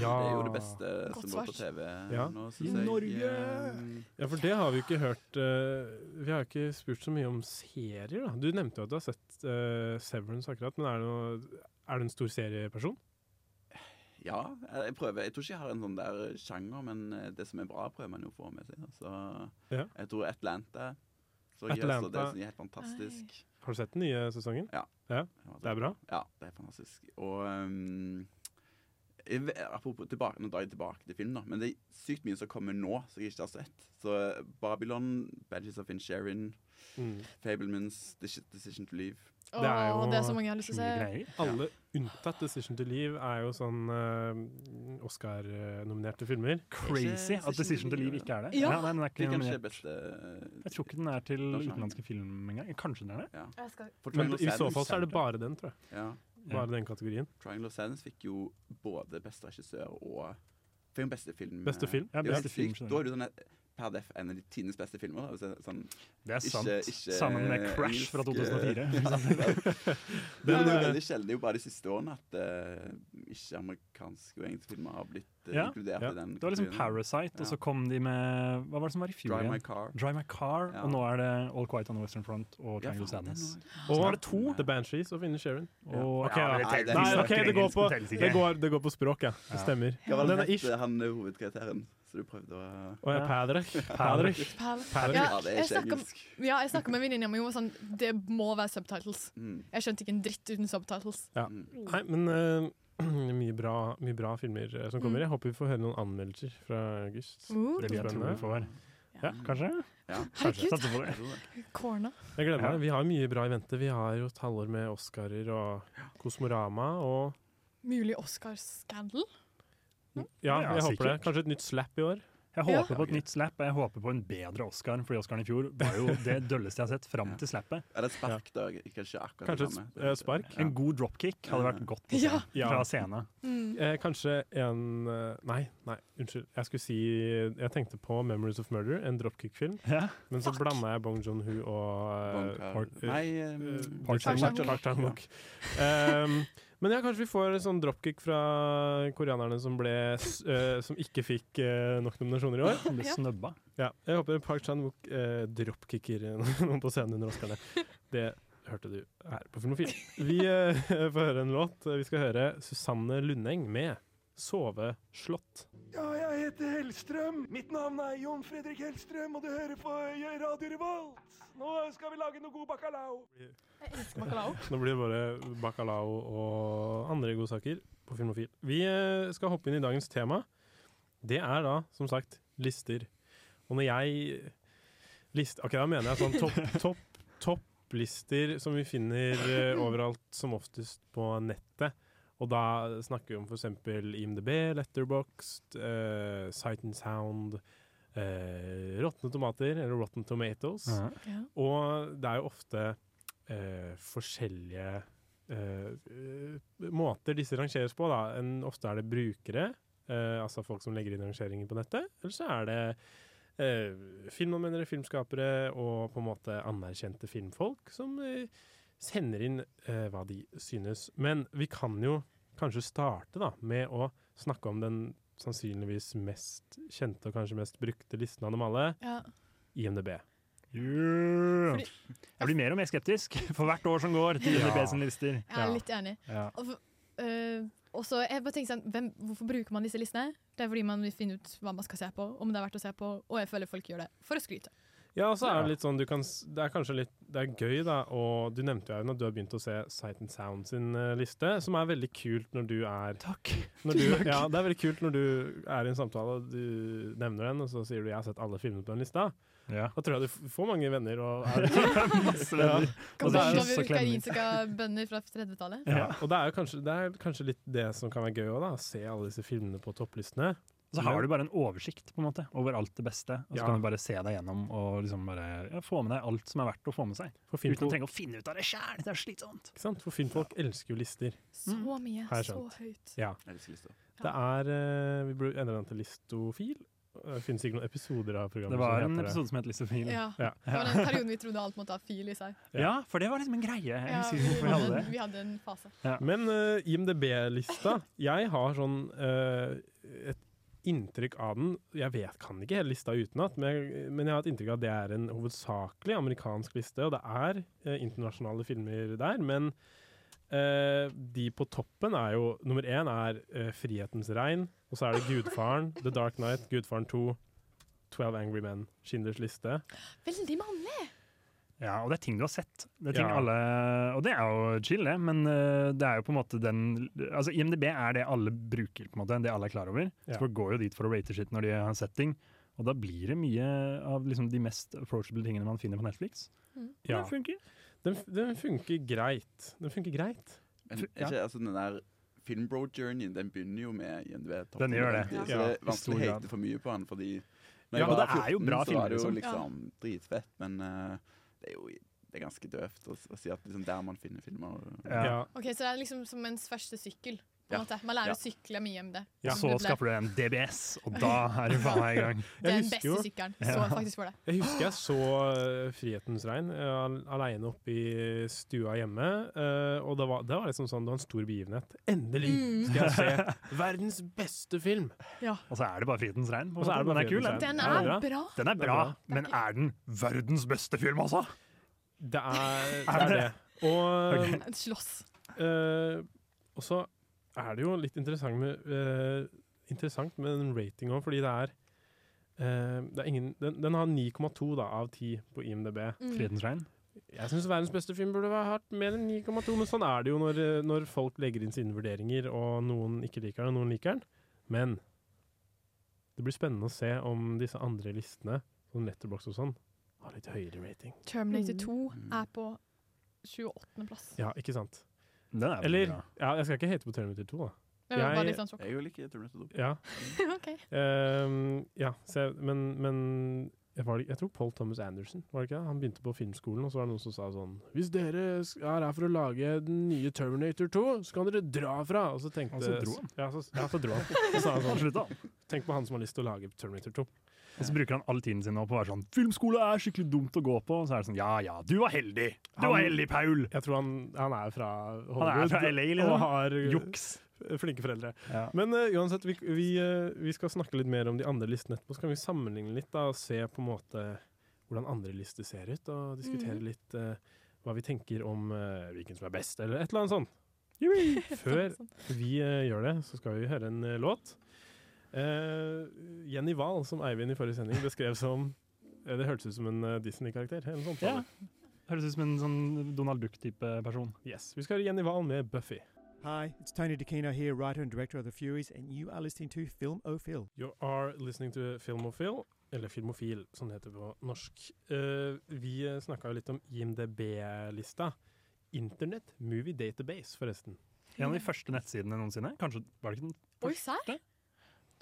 [SPEAKER 7] Ja.
[SPEAKER 6] Det er jo det beste
[SPEAKER 8] Godt
[SPEAKER 6] som går på
[SPEAKER 8] svar.
[SPEAKER 6] TV
[SPEAKER 7] Ja.
[SPEAKER 6] nå,
[SPEAKER 7] I
[SPEAKER 6] synes jeg.
[SPEAKER 7] Norge!
[SPEAKER 6] Ehm,
[SPEAKER 7] Ja, for det har vi ikke hørt eh, Vi har ikke spurt så mye om serier, da. Du nevnte jo at du har sett eh, Severance akkurat, men er du, noe, er du en stor serieperson?
[SPEAKER 6] Ja, jeg jeg prøver. Jeg tror ikke jeg har en sånn der sjanger, men eh, det som er bra, prøver man jo å få med seg. Så
[SPEAKER 7] Ja.
[SPEAKER 6] jeg tror Atlanta så jeg, Atlanta. Det
[SPEAKER 7] Atlanta.
[SPEAKER 6] er sånn helt fantastisk.
[SPEAKER 7] Har du sett den nye sesongen?
[SPEAKER 6] Ja.
[SPEAKER 7] ja. Det er bra?
[SPEAKER 6] Ja, det er fantastisk. Og ehm, jeg, ve- apropos tilbake, nå drar jeg tilbake til film, da, men det er sykt mye som kommer nå som jeg ikke har sett. Så eh, Babylon, Badges of Insherin,
[SPEAKER 7] Mm.
[SPEAKER 6] Fablemans, The Shit Decision to Leave.
[SPEAKER 8] Åh,
[SPEAKER 7] Det er jo
[SPEAKER 8] det er så mange jeg har lyst til å
[SPEAKER 2] mye
[SPEAKER 8] se.
[SPEAKER 2] greier.
[SPEAKER 7] Alle unntatt Decision to Leave er jo sånn eh, Oscar-nominerte filmer.
[SPEAKER 2] Crazy
[SPEAKER 6] Ikke
[SPEAKER 2] at Decision to Leave ikke er det.
[SPEAKER 8] Ja.
[SPEAKER 2] Nei, nei, den er
[SPEAKER 6] Det
[SPEAKER 2] ikke
[SPEAKER 6] er kanskje
[SPEAKER 2] nominert.
[SPEAKER 6] beste eh,
[SPEAKER 2] Jeg tror ikke den er til
[SPEAKER 6] Lars Einar.
[SPEAKER 2] utenlandske film engang. Kanskje den er det?
[SPEAKER 6] ja.
[SPEAKER 8] Jeg skal
[SPEAKER 6] For
[SPEAKER 7] Men
[SPEAKER 6] Triangle
[SPEAKER 7] i så
[SPEAKER 6] Sadness-
[SPEAKER 7] fall så er det bare den, tror jeg.
[SPEAKER 6] ja.
[SPEAKER 7] Bare den kategorien.
[SPEAKER 6] Triangle of Sadness fikk jo både beste regissør og fikk jo beste film.
[SPEAKER 7] Beste film?
[SPEAKER 2] Ja,
[SPEAKER 6] Det er jo
[SPEAKER 2] beste
[SPEAKER 6] helt sykt.
[SPEAKER 2] film, skjønner
[SPEAKER 6] Da er det sånn et- per def en av de tidenes beste filmer. Da. Altså, Sånn,
[SPEAKER 2] Det er
[SPEAKER 6] Ikke-
[SPEAKER 2] sant.
[SPEAKER 6] ikke
[SPEAKER 2] Sammen med Crash
[SPEAKER 6] engelsk,
[SPEAKER 2] fra
[SPEAKER 6] eh,
[SPEAKER 2] 2004.
[SPEAKER 6] det er jo
[SPEAKER 7] eh,
[SPEAKER 6] veldig sjelden det er jo bare de siste årene at eh, ikke amerikanske og engelske filmer har blitt eh,
[SPEAKER 2] Ja,
[SPEAKER 6] inkludert
[SPEAKER 7] ja.
[SPEAKER 6] i den.
[SPEAKER 2] Det var liksom
[SPEAKER 6] kategorien.
[SPEAKER 2] Parasite, og så kom de med Hva var det som var i fjor
[SPEAKER 6] Drive My
[SPEAKER 2] igjen?
[SPEAKER 6] Car.
[SPEAKER 2] Drive My Car,
[SPEAKER 6] Ja.
[SPEAKER 2] og nå er det All Quiet on the Western Front og
[SPEAKER 6] Ja,
[SPEAKER 2] Triangle
[SPEAKER 6] faen, det er
[SPEAKER 2] Sadness.
[SPEAKER 7] Og
[SPEAKER 2] er det to.
[SPEAKER 7] The Banshees og Finne Sharon.
[SPEAKER 2] Og,
[SPEAKER 7] Ok, ja.
[SPEAKER 2] men
[SPEAKER 6] Nei,
[SPEAKER 2] det
[SPEAKER 6] det-
[SPEAKER 2] teller-
[SPEAKER 7] Nei,
[SPEAKER 2] vi
[SPEAKER 7] ok,
[SPEAKER 2] snakker
[SPEAKER 7] det går
[SPEAKER 2] engelsk,
[SPEAKER 7] på,
[SPEAKER 2] det telles
[SPEAKER 7] det
[SPEAKER 2] ikke.
[SPEAKER 7] går, det går på språk, ja. Det stemmer.
[SPEAKER 6] Hva var det
[SPEAKER 7] Den er
[SPEAKER 6] het,
[SPEAKER 7] ish.
[SPEAKER 6] eh, han eh, hovedkarakteren? Så du prøvde å
[SPEAKER 7] Å ja, Padrach. Padrach. Padrach.
[SPEAKER 8] Ja,
[SPEAKER 6] Ja, det er
[SPEAKER 8] jeg
[SPEAKER 6] ikke
[SPEAKER 8] snakket om-
[SPEAKER 6] engelsk.
[SPEAKER 8] Ja, jeg snakka med en venninne om jo, sånn, det må være subtitles.
[SPEAKER 6] Mm.
[SPEAKER 8] Jeg skjønte ikke en dritt uten subtitles.
[SPEAKER 7] Nei, men eh, mye, bra, mye bra filmer eh, som kommer. Jeg håper vi får høre noen anmeldelser fra august.
[SPEAKER 8] Uh,
[SPEAKER 2] Det vil jeg tro vi får.
[SPEAKER 7] Ja.
[SPEAKER 2] Kanskje? Kanskje.
[SPEAKER 8] herregud,
[SPEAKER 2] Satser på det.
[SPEAKER 6] Jeg tror det.
[SPEAKER 8] corna.
[SPEAKER 7] Jeg gleder
[SPEAKER 2] Ja.
[SPEAKER 7] meg. Vi har mye bra i vente. Vi har jo et halvår med Oscarer og Kosmorama og
[SPEAKER 8] Mulig Oscar-scandal?
[SPEAKER 7] Ja,
[SPEAKER 2] Ja,
[SPEAKER 7] jeg håper det.
[SPEAKER 2] sikkert.
[SPEAKER 7] Kanskje et nytt slap i år.
[SPEAKER 2] Jeg
[SPEAKER 8] Ja.
[SPEAKER 2] håper på et nytt slap, og jeg håper på en bedre Oscar, fordi Oscaren i fjor var jo det dølleste jeg har sett fram til slappet.
[SPEAKER 6] Eller et spark, da. Kanskje akkurat
[SPEAKER 7] Kanskje
[SPEAKER 6] det
[SPEAKER 7] et
[SPEAKER 6] samme.
[SPEAKER 7] sp- eh, spark?
[SPEAKER 6] Ja.
[SPEAKER 2] En god dropkick hadde vært godt å se
[SPEAKER 8] Ja.
[SPEAKER 7] Ja.
[SPEAKER 2] fra scenen.
[SPEAKER 8] Mm.
[SPEAKER 7] Eh, kanskje en eh, Nei, nei, unnskyld. Jeg skulle si Jeg tenkte på 'Memories of Murder', en dropkick-film.
[SPEAKER 2] Ja.
[SPEAKER 7] Men så blanda jeg Bong Joon-ho og eh,
[SPEAKER 6] Bangkar-
[SPEAKER 7] Park-
[SPEAKER 6] Nei,
[SPEAKER 7] eh,
[SPEAKER 6] ehm,
[SPEAKER 7] Park
[SPEAKER 8] Chan-wook.
[SPEAKER 7] Chan-wook. Park Chan-wook. Ehm, men ja, kanskje vi får en sånn dropkick fra koreanerne som, ble, s- eh, som ikke fikk eh, nok nominasjoner i år.
[SPEAKER 2] Han ble snøbba.
[SPEAKER 7] Ja, jeg håper Park Chan-wook eh, dropkicker noen på scenen under Oscarene. Det hørte du her på Filmofil. Vi eh, får høre en låt. Vi skal høre Susanne Lundeng med 'Soveslått'.
[SPEAKER 12] Ja, jeg heter Hellstrøm. Mitt navn er Jon Fredrik Hellstrøm, og du hører på Radio Revolt. Nå skal vi lage noe god bacalao.
[SPEAKER 8] Jeg elsker bacalao.
[SPEAKER 7] Nå blir det bare bacalao og andre godsaker på Filmofil. Vi eh, skal hoppe inn i dagens tema. Det er da, som sagt, lister. Og når jeg eh, list, Ok, da mener jeg sånn topp topp, topplister som vi finner eh, overalt, som oftest på nettet. Og da snakker vi om f.eks. IMDb, Letterboxd, eh, Sight and Sound, eh, Råtne tomater, eller Rotten Tomatoes.
[SPEAKER 8] Ja.
[SPEAKER 7] Og det er jo ofte eh, forskjellige eh, eh, måter disse rangeres på. Da. En, ofte er det brukere, eh, altså folk som legger inn rangeringer på nettet. Eller så er det eh, filmanmeldere, filmskapere og på en måte anerkjente filmfolk som eh, sender inn eh, hva de synes. Men vi kan jo kanskje starte da, med å snakke om den sannsynligvis mest kjente og kanskje mest brukte listen av dem alle,
[SPEAKER 8] Ja.
[SPEAKER 7] IMDb.
[SPEAKER 2] Yeah.
[SPEAKER 8] Fordi-
[SPEAKER 2] Jeg blir mer og mer skeptisk for hvert år som går til
[SPEAKER 7] Ja.
[SPEAKER 2] IMDb sine lister.
[SPEAKER 8] Jeg er
[SPEAKER 7] Ja.
[SPEAKER 8] litt enig.
[SPEAKER 2] Ja.
[SPEAKER 8] Og for- eh, og så jeg bare tenker sånn, hvem, Hvorfor bruker man disse listene? Det er fordi man vil finne ut hva man skal se på, om det er verdt å se på, og jeg føler folk gjør det for å skryte.
[SPEAKER 7] Ja, og så er det litt sånn du kan, s- Det er kanskje litt Det er gøy, da. Og du nevnte jo Aune, at du har begynt å se Sight and Sound sin eh, liste, som er veldig kult når du er
[SPEAKER 2] Takk.
[SPEAKER 7] når du, Ja, det er veldig kult når du er i en samtale, og du nevner den, og så sier du 'jeg har sett alle filmene på den lista'.
[SPEAKER 2] Ja.
[SPEAKER 7] Da tror jeg du f- får mange venner. Og, er,
[SPEAKER 2] Masse venner. Og det er jo så klemmer.
[SPEAKER 8] Ukrainske bønder fra 30-tallet.
[SPEAKER 7] ja, og det er jo kanskje, det er kanskje litt det som kan være gøy òg, da. å Se alle disse filmene på topplistene.
[SPEAKER 4] Og så har du bare en oversikt på en måte, over alt det beste, og så
[SPEAKER 2] Ja.
[SPEAKER 4] kan du bare se deg gjennom og liksom bare ja, få med deg alt som er verdt å få med seg.
[SPEAKER 7] For
[SPEAKER 4] Uten
[SPEAKER 7] film-
[SPEAKER 4] å trenge å finne ut av det sjæl, det er slitsomt.
[SPEAKER 7] Ikke sant? For filmfolk elsker jo lister.
[SPEAKER 8] Så mye,
[SPEAKER 7] Har jeg
[SPEAKER 8] så
[SPEAKER 7] skjønt.
[SPEAKER 8] høyt.
[SPEAKER 7] Ja.
[SPEAKER 6] Elsker lister.
[SPEAKER 7] Det er eh, Vi burde endre den til listofil. Det finnes sikkert noen episoder av programmet
[SPEAKER 4] Det var
[SPEAKER 7] som
[SPEAKER 4] en
[SPEAKER 7] heter det.
[SPEAKER 4] episode som het Listofil.
[SPEAKER 8] Ja.
[SPEAKER 7] Ja.
[SPEAKER 8] Det var den perioden vi trodde alt måtte ha fil i seg.
[SPEAKER 4] Ja, for det var liksom en greie. Jeg
[SPEAKER 8] Ja,
[SPEAKER 4] husker
[SPEAKER 8] vi,
[SPEAKER 4] ikke hvorfor vi hadde
[SPEAKER 8] hadde,
[SPEAKER 4] det.
[SPEAKER 8] vi hadde en fase.
[SPEAKER 7] Men eh, IMDb-lista Jeg har sånn eh, et inntrykk av den Jeg vet, kan ikke hele lista utenat, men, jeg- men jeg har et inntrykk av at det er en hovedsakelig amerikansk liste, og det er eh, internasjonale filmer der, men eh, de på toppen er jo Nummer én er eh, 'Frihetens regn', og så er det 'Gudfaren', 'The Dark Knight', 'Gudfaren 2', 'Twelve Angry Men', 'Schindlers liste'.
[SPEAKER 8] Veldig mannlig!
[SPEAKER 4] Ja, og det er ting du har sett. Det er ting
[SPEAKER 7] Ja.
[SPEAKER 4] alle, og det er jo chill, det, men øh, det er jo på en måte den Altså IMDb er det alle bruker, på en måte, det alle er klar over.
[SPEAKER 7] Ja.
[SPEAKER 4] Så folk går jo dit for å rate shit når de har sett ting. Og da blir det mye av liksom, de mest approachable tingene man finner på Netflix.
[SPEAKER 7] Ja.
[SPEAKER 4] Det funker.
[SPEAKER 7] Den, f- den funker greit. Den funker greit.
[SPEAKER 6] Men er
[SPEAKER 7] Ja.
[SPEAKER 6] ikke, altså, den der Filmbro-journeyen den begynner jo med IMDb toppen.
[SPEAKER 4] Den gjør det.
[SPEAKER 6] Så
[SPEAKER 4] Ja.
[SPEAKER 6] det er
[SPEAKER 4] I stor
[SPEAKER 6] vanskelig å
[SPEAKER 4] grad.
[SPEAKER 6] hate for mye på den, fordi
[SPEAKER 4] Ja,
[SPEAKER 6] når jeg
[SPEAKER 4] og
[SPEAKER 6] var
[SPEAKER 4] det er jo
[SPEAKER 6] 14,
[SPEAKER 4] bra
[SPEAKER 6] så var det jo
[SPEAKER 4] filmer,
[SPEAKER 6] liksom
[SPEAKER 4] liksom.
[SPEAKER 6] dritfett, men eh, det er jo det er ganske døvt å, s- å si at liksom, der man finner filmer og-
[SPEAKER 4] Ja.
[SPEAKER 8] Ok, Så det er liksom som ens første sykkel. På en
[SPEAKER 6] Ja.
[SPEAKER 8] måte. Man lærer
[SPEAKER 6] Ja.
[SPEAKER 8] å sykle mye om det.
[SPEAKER 4] Og så skaffer du en DBS, og da er du faen meg i gang.
[SPEAKER 8] Det er den beste sykkelen. Så
[SPEAKER 4] Ja.
[SPEAKER 8] faktisk for det.
[SPEAKER 7] Jeg husker jeg så eh, 'Frihetens regn' eh, al- alene oppe i stua hjemme. eh, og det var, det var liksom sånn, det var en stor begivenhet. Endelig
[SPEAKER 8] Mm.
[SPEAKER 7] skal jeg se verdens beste film!
[SPEAKER 4] Og så er det bare Frihetens regn. på en
[SPEAKER 7] Og så
[SPEAKER 4] måte.
[SPEAKER 7] er det bare
[SPEAKER 4] Den er kul,
[SPEAKER 7] Frihetens
[SPEAKER 4] den.
[SPEAKER 8] Den
[SPEAKER 7] Ja, det
[SPEAKER 8] er
[SPEAKER 7] er bra.
[SPEAKER 8] bra!
[SPEAKER 4] Den er
[SPEAKER 7] Den er
[SPEAKER 4] bra,
[SPEAKER 7] bra.
[SPEAKER 4] men er den verdens beste film, altså?
[SPEAKER 7] Det er det.
[SPEAKER 4] Er
[SPEAKER 7] Er
[SPEAKER 4] det?
[SPEAKER 7] det. Og
[SPEAKER 4] Ok.
[SPEAKER 8] Et slåss.
[SPEAKER 7] Eh, og så er det jo litt interessant med, eh, interessant med den ratinga, fordi det er, eh, det er ingen, den, den har 9,2 da, av 10 på IMDb.
[SPEAKER 8] Mm.
[SPEAKER 4] Frihetens regn?
[SPEAKER 7] Jeg syns verdens beste film burde ha hatt mer enn 9,2, men sånn er det jo når, eh, når folk legger inn sine vurderinger, og noen ikke liker den, og noen liker den. Men det blir spennende å se om disse andre listene, som Letterbox og sånn, har litt høyere rating.
[SPEAKER 8] Terminator
[SPEAKER 5] Mm.
[SPEAKER 8] 2 er på 28. plass.
[SPEAKER 7] Ja, ikke sant?
[SPEAKER 4] Den er
[SPEAKER 7] Eller
[SPEAKER 4] bra.
[SPEAKER 7] ja, Jeg skal ikke hate på Terminator 2, da.
[SPEAKER 8] Det var bare litt
[SPEAKER 7] Jeg-
[SPEAKER 8] sånn sjokk.
[SPEAKER 6] Jeg er jo like Terminator 2.
[SPEAKER 7] Ja.
[SPEAKER 8] Ok.
[SPEAKER 7] Ehm, ja, så jeg, men, men jeg, var, det- jeg tror Paul Thomas Anderson var det ikke det? Han begynte på filmskolen, og så var det noen som sa sånn Hvis dere s- er her for å lage den nye Terminator 2, så kan dere dra fra! Og så tenkte
[SPEAKER 4] Og så dro han.
[SPEAKER 7] Ja, så, ja, så dro han. Så sa han
[SPEAKER 4] Han
[SPEAKER 7] sånn
[SPEAKER 4] slutta.
[SPEAKER 7] Tenk på han som har lyst til å lage Terminator 2.
[SPEAKER 4] Altså, Og så bruker han all tiden sin nå på å være sånn Filmskole er skikkelig dumt å gå på. Og så er det sånn Ja ja, du var heldig! Du var
[SPEAKER 7] Han-
[SPEAKER 4] heldig, Paul!
[SPEAKER 7] Jeg tror han, han er fra Hollywood.
[SPEAKER 4] fra LA, liksom.
[SPEAKER 7] Og har eh,
[SPEAKER 4] Juks.
[SPEAKER 7] flinke foreldre.
[SPEAKER 4] Ja.
[SPEAKER 7] Men eh, uansett, vi, vi, eh, vi skal snakke litt mer om de andre listene etterpå. Så kan vi sammenligne litt da, og se på en måte hvordan andre lister ser ut, og diskutere litt eh, hva vi tenker om eh, hvilken som er best, eller et eller annet sånt. Før
[SPEAKER 8] Sånn,
[SPEAKER 7] vi eh, gjør det, så skal vi høre en eh, låt. Eh, Jenny Wahl, som Eivind i forrige sending beskrev som eh, Det hørtes ut som en eh, Disney-karakter. eller noe sånt.
[SPEAKER 4] Ja. Høres ut som en sånn Donald Duck-type person.
[SPEAKER 7] Yes, Vi skal høre Jenny Wahl med Buffy.
[SPEAKER 13] Hi, it's Tony DeCino here, writer and director of The Furies, and you are listening to Film O'Phil.
[SPEAKER 7] You are listening to Filmofil, eller Filmofil, som det heter på norsk. Eh, vi eh, snakka jo litt om IMDb-lista. Internet Movie Database, forresten.
[SPEAKER 4] En av de første nettsidene noensinne. Kanskje var det ikke den?
[SPEAKER 8] sånn. Oi, serr?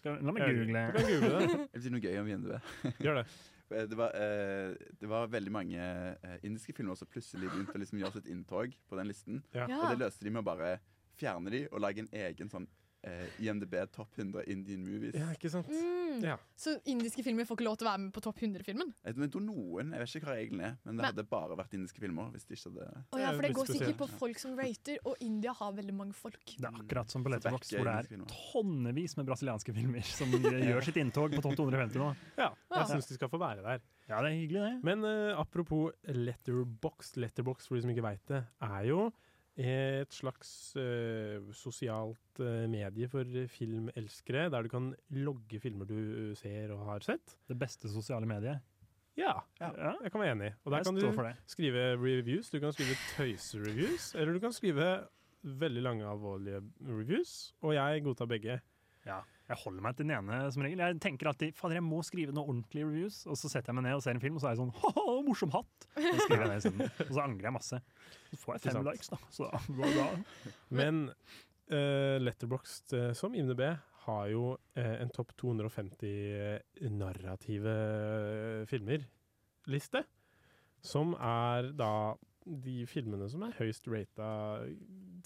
[SPEAKER 4] Skal, la meg
[SPEAKER 7] Jeg-
[SPEAKER 4] google.
[SPEAKER 7] Du kan google det.
[SPEAKER 6] Jeg vil si noe gøy om IMDb.
[SPEAKER 7] Gjør det.
[SPEAKER 6] Eh, Det var, eh, det var veldig mange eh, indiske filmer som plutselig begynte å liksom gjøre sitt inntog på den listen.
[SPEAKER 7] Ja.
[SPEAKER 8] Ja.
[SPEAKER 6] Og det løste de med å bare fjerne de og lage en egen sånn eh, IMDb Top 100 Indian Movies.
[SPEAKER 7] Ja, ikke sant?
[SPEAKER 8] Mm.
[SPEAKER 7] Ja.
[SPEAKER 8] Så indiske filmer får ikke lov til å være med på topp 100-filmen?
[SPEAKER 6] Jeg vet ikke noen, jeg vet ikke hva reglene er, men det
[SPEAKER 8] Men-
[SPEAKER 6] hadde bare vært indiske filmer. hvis det ikke hadde...
[SPEAKER 8] Å ja,
[SPEAKER 7] Det er
[SPEAKER 8] for det
[SPEAKER 7] litt
[SPEAKER 8] går sikkert på
[SPEAKER 7] spesielt.
[SPEAKER 8] folk som rater, og India har veldig mange folk.
[SPEAKER 4] Det er
[SPEAKER 7] Mm.
[SPEAKER 4] akkurat som på
[SPEAKER 6] Så
[SPEAKER 4] Letterbox,
[SPEAKER 6] backer
[SPEAKER 4] hvor det
[SPEAKER 6] indiske
[SPEAKER 4] er
[SPEAKER 6] filmer.
[SPEAKER 4] tonnevis med brasilianske filmer som gjør sitt inntog på topp 250 nå.
[SPEAKER 7] ja.
[SPEAKER 8] Ja.
[SPEAKER 7] Jeg syns de skal få være der.
[SPEAKER 4] Ja, det er hyggelig, det.
[SPEAKER 7] Men eh, apropos letterbox, letterbox for de som ikke veit det, er jo et slags eh, sosialt eh, medie for filmelskere, der du kan logge filmer du eh, ser og har sett.
[SPEAKER 4] Det beste sosiale mediet.
[SPEAKER 7] Ja,
[SPEAKER 4] Ja,
[SPEAKER 7] jeg kan være enig. Og der
[SPEAKER 4] jeg
[SPEAKER 7] kan
[SPEAKER 4] står
[SPEAKER 7] du
[SPEAKER 4] for det.
[SPEAKER 7] skrive reviews, du kan skrive tøysereviews, eller du kan skrive veldig lange, alvorlige reviews, og jeg godtar begge.
[SPEAKER 4] Ja, jeg holder meg til den ene som regel. Jeg tenker alltid fader, jeg må skrive noen ordentlige reviews, og så setter jeg meg ned og ser en film, og så er jeg sånn ha-ha, morsom hatt! Og så skriver jeg det isteden. Og så angrer jeg masse. Så får jeg
[SPEAKER 7] Ikke
[SPEAKER 4] fem
[SPEAKER 7] sant.
[SPEAKER 4] likes, da. Så da går det bra.
[SPEAKER 7] Men uh, Letterboxd eh, som IMDb har jo eh, en topp 250 eh, narrative eh, filmer-liste. Som er da de filmene som er høyest rata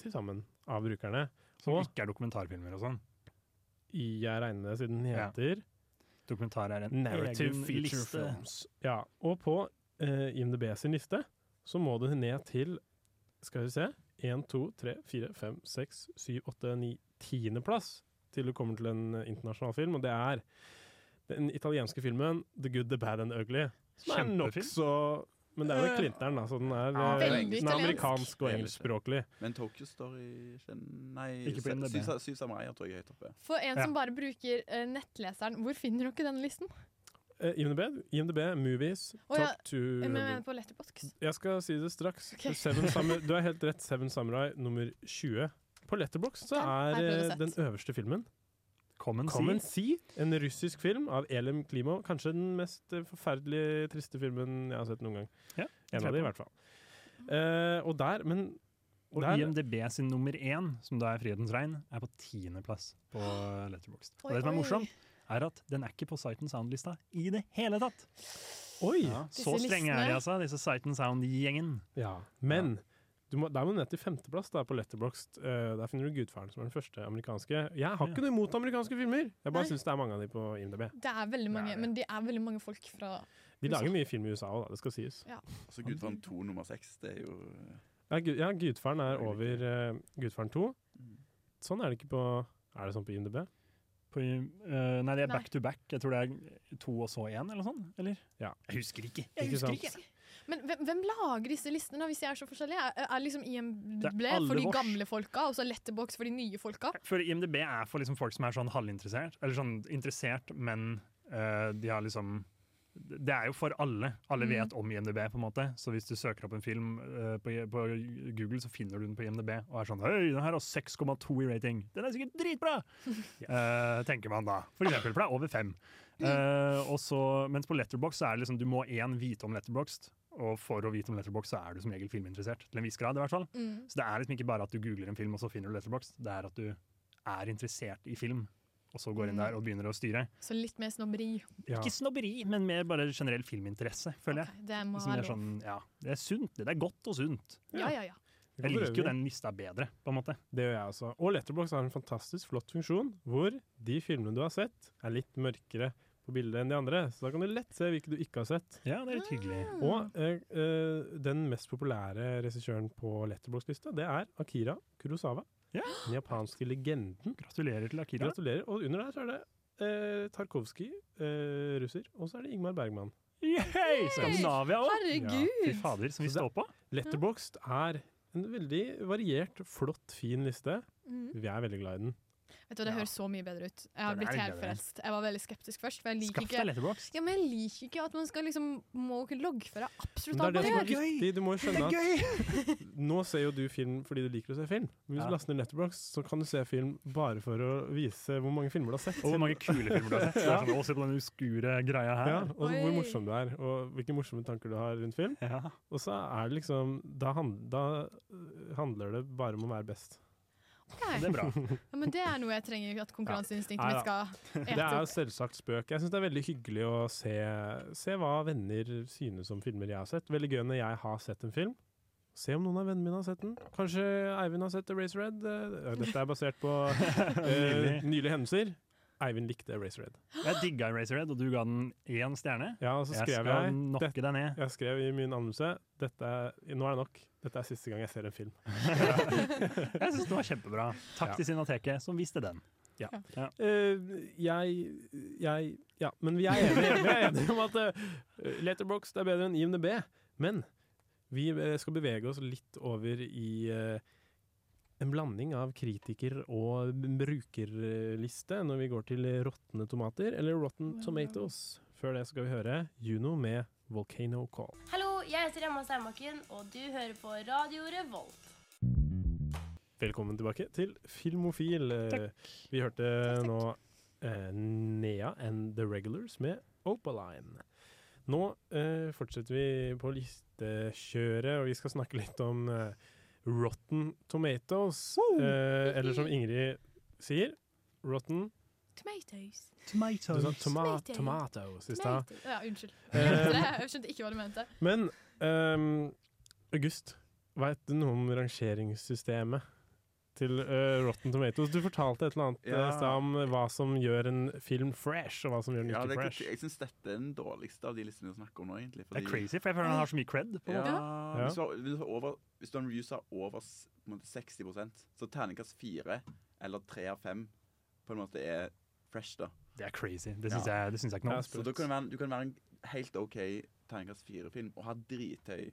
[SPEAKER 7] til sammen av brukerne.
[SPEAKER 4] Som ikke er dokumentarfilmer og sånn.
[SPEAKER 7] Jeg regner med det siden den
[SPEAKER 4] Ja.
[SPEAKER 7] heter
[SPEAKER 4] Dokumentar er en
[SPEAKER 7] Narrative
[SPEAKER 4] egen
[SPEAKER 7] feature
[SPEAKER 4] liste.
[SPEAKER 7] films. Ja, og på eh, IMDb sin liste så må det ned til Skal vi se 1, 2, 3, 4, 5, 6, 7, 8, 9 Tiendeplass til du kommer til en eh, internasjonal film, og det er den italienske filmen The Good, The Bad and The Ugly. Som er
[SPEAKER 4] Kjempefilm.
[SPEAKER 7] nokså Men det er
[SPEAKER 8] Eh,
[SPEAKER 7] vel Clinter'n, da, så den er,
[SPEAKER 6] Ja,
[SPEAKER 7] eh,
[SPEAKER 6] veldig
[SPEAKER 7] den er
[SPEAKER 6] italiensk.
[SPEAKER 7] amerikansk og engelskspråklig.
[SPEAKER 6] Men Tokyo Story kjenner- Nei,
[SPEAKER 7] Ikke på
[SPEAKER 6] Sy-
[SPEAKER 7] IMDb.
[SPEAKER 6] Sy- Syv samuraier tror jeg er høyt oppe.
[SPEAKER 8] For en
[SPEAKER 7] Ja.
[SPEAKER 8] som bare bruker eh, nettleseren, hvor finner dere denne listen?
[SPEAKER 7] Eh, IMDb, IMDb, movies,
[SPEAKER 8] Å ja,
[SPEAKER 7] top 200
[SPEAKER 8] Men jeg mener på Letterboxd.
[SPEAKER 7] Jeg skal si det straks.
[SPEAKER 8] Ok.
[SPEAKER 7] Seven Samurai, du har helt rett. Seven Samurai nummer 20. På Letterbox så
[SPEAKER 8] har
[SPEAKER 7] er
[SPEAKER 8] jeg
[SPEAKER 7] eh,
[SPEAKER 8] sett.
[SPEAKER 7] den øverste filmen
[SPEAKER 4] Common Sea.
[SPEAKER 7] Common Sea, en russisk film av Elem Klimo. Kanskje den mest eh, forferdelig triste filmen jeg har sett noen gang.
[SPEAKER 4] Ja,
[SPEAKER 7] en av de, i hvert fall. Eh, og der, men
[SPEAKER 4] Og
[SPEAKER 7] der-
[SPEAKER 4] IMDb sin nummer én, som da er Frihetens regn, er på tiendeplass på Letterboxd. Og
[SPEAKER 8] Oi,
[SPEAKER 4] det som er
[SPEAKER 8] oi.
[SPEAKER 4] morsomt, er at den er ikke på Sight and Sound-lista i det hele tatt!
[SPEAKER 7] Oi!
[SPEAKER 4] Ja, så
[SPEAKER 7] Disse
[SPEAKER 4] strenge
[SPEAKER 7] listene.
[SPEAKER 4] er de, altså, disse Sight and Sound-gjengen.
[SPEAKER 7] Ja, men du må, der må du ned til femteplass da, på Letterboxd. Eh, der finner du Gudfaren, som er den første amerikanske. Jeg har ikke noe imot amerikanske filmer, jeg bare
[SPEAKER 8] Nei.
[SPEAKER 7] syns det er mange av de på IMDb.
[SPEAKER 8] Det er veldig mange, men det er veldig mange folk fra
[SPEAKER 7] De lager mye film i USA òg, det skal sies.
[SPEAKER 8] Ja.
[SPEAKER 6] Altså Gudfaren 2 nummer 6, det er jo
[SPEAKER 7] Ja, Gu- ja Gudfaren er over eh, Gudfaren 2.
[SPEAKER 4] Mm.
[SPEAKER 7] Sånn er det ikke på Er det sånn på IMDb?
[SPEAKER 4] På, eh, nei, det er
[SPEAKER 7] Nei.
[SPEAKER 4] back to back. Jeg tror det er to og så én, eller sånn? Eller?
[SPEAKER 7] Ja.
[SPEAKER 4] Jeg husker ikke!
[SPEAKER 7] Ikke
[SPEAKER 4] Jeg husker
[SPEAKER 7] sant?
[SPEAKER 4] ikke.
[SPEAKER 8] Men hvem, hvem lager disse listene, da, hvis de er så forskjellige? Er, er liksom IMDb
[SPEAKER 4] Det er alle
[SPEAKER 8] for de
[SPEAKER 4] vårs.
[SPEAKER 8] gamle folka, og så Letterbox for de nye folka?
[SPEAKER 4] For IMDb er for liksom folk som er sånn halvinteressert, eller sånn interessert, men eh, de har liksom Det er jo for alle. Alle
[SPEAKER 8] Mm.
[SPEAKER 4] vet om IMDb, på en måte. Så hvis du søker opp en film eh, på, på Google, så finner du den på IMDb og er sånn Høy, den her har 6,2 i rating! Den er sikkert dritbra! Eh, tenker man da. For eksempel, for det er over fem. Eh, og så- mens på Letterbox så er det liksom, du må én vite om Letterbox, og for å vite om Letterbox så er du som regel filminteressert. Til en viss grad, i hvert fall.
[SPEAKER 8] Mm.
[SPEAKER 4] Så det er liksom ikke bare at du googler en film og så finner du Letterbox, det er at du er interessert i film, og så går inn der og begynner å styre.
[SPEAKER 8] Så litt mer snobberi.
[SPEAKER 4] Ikke snobberi, men mer bare generell filminteresse, føler jeg.
[SPEAKER 8] Det må
[SPEAKER 4] Som
[SPEAKER 8] være
[SPEAKER 4] er
[SPEAKER 8] lov.
[SPEAKER 4] sånn, ja, det er sunt, det. Det er godt og sunt.
[SPEAKER 8] Ja, ja, ja.
[SPEAKER 4] Jeg liker jo den lista bedre, på en måte.
[SPEAKER 7] Det gjør jeg også. Og Letterbox har en fantastisk flott funksjon hvor de filmene du har sett, er litt mørkere på bildet enn de andre. Så da kan du lett se hvilke du ikke har sett.
[SPEAKER 4] Ja, det er litt hyggelig.
[SPEAKER 7] Og eh, eh, den mest populære regissøren på Letterbox-lista, det er Akira Kurosawa. Den japanske legenden.
[SPEAKER 4] Gratulerer til Akira.
[SPEAKER 7] Gratulerer. Og under der så er det eh, Tarkovskij, eh, russer, og så er det Ingmar Bergman.
[SPEAKER 4] Yay! Skandinavia òg!
[SPEAKER 7] Herregud!
[SPEAKER 4] Fy fader, som vi står på.
[SPEAKER 7] Letterboxd er en veldig variert, flott, fin liste.
[SPEAKER 8] Mm.
[SPEAKER 7] Vi er veldig glad i den.
[SPEAKER 8] Vet du, Det høres så mye bedre ut. Jeg har
[SPEAKER 7] Den er
[SPEAKER 8] blitt helt
[SPEAKER 7] bedre.
[SPEAKER 8] frelst. Jeg var veldig skeptisk først. For jeg liker
[SPEAKER 7] Skaff deg
[SPEAKER 8] ikke,
[SPEAKER 7] Letterboxd.
[SPEAKER 8] ja, men jeg liker ikke at man skal liksom, må loggføre absolutt
[SPEAKER 7] Men
[SPEAKER 8] alt
[SPEAKER 7] det
[SPEAKER 8] man
[SPEAKER 7] er det som
[SPEAKER 8] gjør.
[SPEAKER 7] er viktig. Du må jo
[SPEAKER 8] Det
[SPEAKER 7] skjønne
[SPEAKER 8] er
[SPEAKER 7] at nå ser jo du film fordi du liker å se film. Men hvis
[SPEAKER 4] Ja.
[SPEAKER 7] du laster ned Letterbox, så kan du se film bare for å vise hvor mange filmer du har sett.
[SPEAKER 4] Og hvor mange kule filmer du har sett. Så det
[SPEAKER 7] ja.
[SPEAKER 4] er sånn, å, se på den uskure greia her.
[SPEAKER 7] Ja, og så hvor morsom du er, og hvilke morsomme tanker du har rundt film. Og så er det liksom da, hand, da øh, handler det bare om å være best.
[SPEAKER 8] Ok.
[SPEAKER 7] Det er bra.
[SPEAKER 8] Ja, men det er noe jeg trenger at konkurranseinstinktet mitt skal
[SPEAKER 7] Det
[SPEAKER 8] ete
[SPEAKER 7] er jo
[SPEAKER 8] opp.
[SPEAKER 7] selvsagt spøk. Jeg syns det er veldig hyggelig å se, se hva venner synes om filmer jeg har sett. Veldig gøy når jeg har sett en film. Se om noen av vennene mine har sett den. Kanskje Eivind har sett Eraser Red. Eh, Dette er basert på eh, nylige hendelser. Eivind likte Eraser Red.
[SPEAKER 4] Jeg digga Eraser Red, og du ga den én stjerne.
[SPEAKER 7] Ja, og så skrev jeg,
[SPEAKER 4] skal nokke
[SPEAKER 7] det-
[SPEAKER 4] deg ned.
[SPEAKER 7] Jeg skrev i min anmeldelse dette er, Nå er det nok. Dette er siste gang jeg ser en film.
[SPEAKER 4] Jeg syns den var kjempebra. Takk til Cinemateket, som viste den.
[SPEAKER 7] Ja. Eh, jeg, jeg Ja, men vi er enige, vi er enige om at uh, Letterboxd er bedre enn IMDb. Men vi eh, skal bevege oss litt over i eh, en blanding av kritiker- og brukerliste når vi går til råtne tomater, eller rotten tomatoes. Før det skal vi høre Juno med 'Volcano Call'.
[SPEAKER 14] Hallo, jeg heter Emma Steinbakken, og du hører på Radio Revolt.
[SPEAKER 7] Velkommen tilbake til Filmofil. Eh, Vi hørte nå eh, Nea and The Regulars med Opaline. Nå eh, fortsetter vi på listekjøret, og vi skal snakke litt om eh, Rotten Tomatoes. Eh, eller som Ingrid sier, Rotten
[SPEAKER 8] Tomatoes.
[SPEAKER 7] Du sa toma
[SPEAKER 8] Tomatoes.
[SPEAKER 7] tomatoes i stad.
[SPEAKER 8] Tomatoes. Ja, unnskyld.
[SPEAKER 7] Eh,
[SPEAKER 8] Jeg glemte det. Jeg skjønte ikke hva du mente.
[SPEAKER 7] Men ehm, August, veit du noe om rangeringssystemet til eh, Rotten Tomatoes? Du fortalte et eller annet
[SPEAKER 6] Ja.
[SPEAKER 7] eh, i stad om hva som gjør en film fresh, og hva som gjør den
[SPEAKER 6] Ja, det
[SPEAKER 7] ikke
[SPEAKER 6] er,
[SPEAKER 7] fresh.
[SPEAKER 6] ikke- jeg syns dette er den dårligste av de listene vi snakker om nå, egentlig.
[SPEAKER 4] Det er crazy, for jeg føler den har så mye cred. På en måte.
[SPEAKER 6] Mm. Ja.
[SPEAKER 4] Ja.
[SPEAKER 6] Hvis, du har, hvis, du har over, hvis du har en review som er over s- på en måte 60 så terningkast fire eller tre av fem på en måte er fresh, da.
[SPEAKER 4] Det er crazy. Det syns jeg, det syns jeg ikke noe om.
[SPEAKER 6] Så du kan være, en- du kan være en helt OK terningkast fire-film og ha drithøy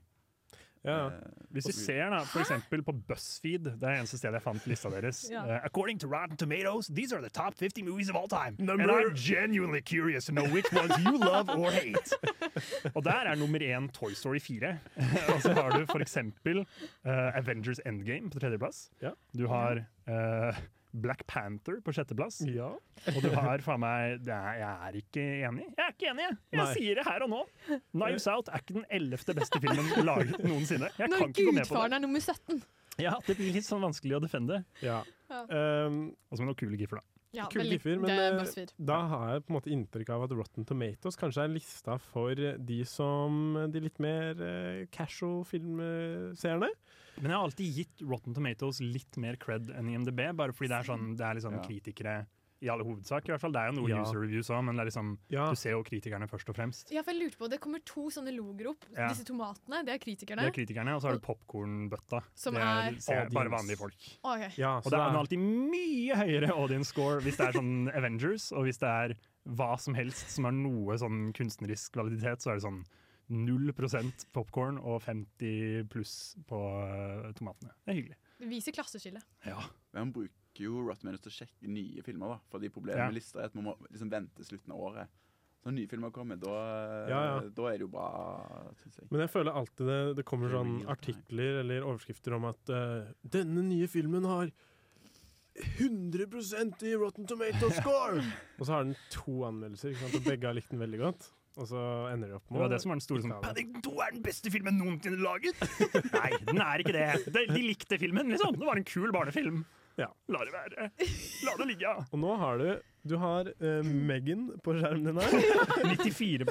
[SPEAKER 4] Ja.
[SPEAKER 6] eh,
[SPEAKER 4] Hvis vi
[SPEAKER 6] review.
[SPEAKER 4] ser da, for eksempel på BuzzFeed, det er eneste stedet jeg fant lista deres.
[SPEAKER 6] Ja.
[SPEAKER 4] Eh, according to Rotten Tomatoes, these are the top 50 movies of all time. And
[SPEAKER 12] Number-
[SPEAKER 4] I'm genuinely curious to know which ones you love or hate. Og der er nummer én Toy Story 4. Og så har du for eksempel eh, Avengers Endgame på tredjeplass. Du har eh, Black Panther på sjetteplass. Og du har faen meg det er, Jeg er ikke enig. Jeg er ikke enig, jeg. Jeg
[SPEAKER 12] Nei.
[SPEAKER 4] sier det her og nå. Knives Out er ikke den ellevte beste filmen laget noensinne. Jeg
[SPEAKER 8] Når
[SPEAKER 4] kan ikke gå med på
[SPEAKER 8] gudfaren
[SPEAKER 4] det.
[SPEAKER 8] er nummer 17.
[SPEAKER 4] Ja, det blir litt sånn vanskelig å defende.
[SPEAKER 8] Ja.
[SPEAKER 4] Og så med noen kule giffer, da.
[SPEAKER 8] Ja,
[SPEAKER 7] Kule
[SPEAKER 8] veldig.
[SPEAKER 7] giffer, men
[SPEAKER 8] Det er
[SPEAKER 7] eh,
[SPEAKER 8] BuzzFeed.
[SPEAKER 7] Ehm, da har jeg på en måte inntrykk av at Rotten Tomatoes kanskje er lista for de som de litt mer eh, casual filmseerne.
[SPEAKER 4] Men jeg har alltid gitt Rotten Tomatoes litt mer cred enn IMDb, bare fordi det er sånn, det er liksom
[SPEAKER 7] Ja.
[SPEAKER 4] kritikere i alle hovedsak, i hvert fall. Det er jo noe
[SPEAKER 7] Ja.
[SPEAKER 4] user reviews òg, men det er liksom, du ser jo kritikerne først og fremst.
[SPEAKER 8] Ja, for jeg lurte på, Det kommer to sånne logoer opp.
[SPEAKER 4] Ja.
[SPEAKER 8] Disse tomatene, det er kritikerne.
[SPEAKER 4] Det er kritikerne, og så har du popkornbøtta.
[SPEAKER 8] Som
[SPEAKER 4] det
[SPEAKER 8] er-
[SPEAKER 4] ser, bare
[SPEAKER 7] Audience.
[SPEAKER 4] vanlige folk.
[SPEAKER 8] Ok.
[SPEAKER 7] Ja,
[SPEAKER 4] og
[SPEAKER 7] så
[SPEAKER 4] det er,
[SPEAKER 7] det er-
[SPEAKER 4] alltid mye høyere audience score hvis det er sånn Avengers, og hvis det er hva som helst som har noe sånn kunstnerisk kvalitet, så er det sånn 0 popkorn og 50 pluss på eh, tomatene. Det er hyggelig.
[SPEAKER 8] Det viser klasseskillet.
[SPEAKER 6] Men man bruker jo Rotten Tomatoes til å sjekke nye filmer, da. Fordi problemet
[SPEAKER 4] Ja.
[SPEAKER 6] med lister er at man må liksom vente slutten av året. Så når nye filmer kommer, da,
[SPEAKER 7] Ja, ja.
[SPEAKER 6] da er det jo bra, syns jeg.
[SPEAKER 7] Men jeg føler alltid det, det kommer
[SPEAKER 6] Real
[SPEAKER 7] sånn
[SPEAKER 6] time.
[SPEAKER 7] artikler eller overskrifter om at eh, 'denne nye filmen har 100 i Rotten Tomato score'! og så har den to anmeldelser, ikke sant? og begge har likt den veldig godt. Og så ender de opp med
[SPEAKER 4] Det var det som var den store sånn, Paddington 2 er den beste filmen noensinne laget! Nei, den er ikke det. De, de likte filmen, liksom. Det var en kul barnefilm.
[SPEAKER 7] Ja.
[SPEAKER 4] La det være. La det ligge.
[SPEAKER 7] Og nå har du Du har eh, Megan på skjermen din her.
[SPEAKER 4] 94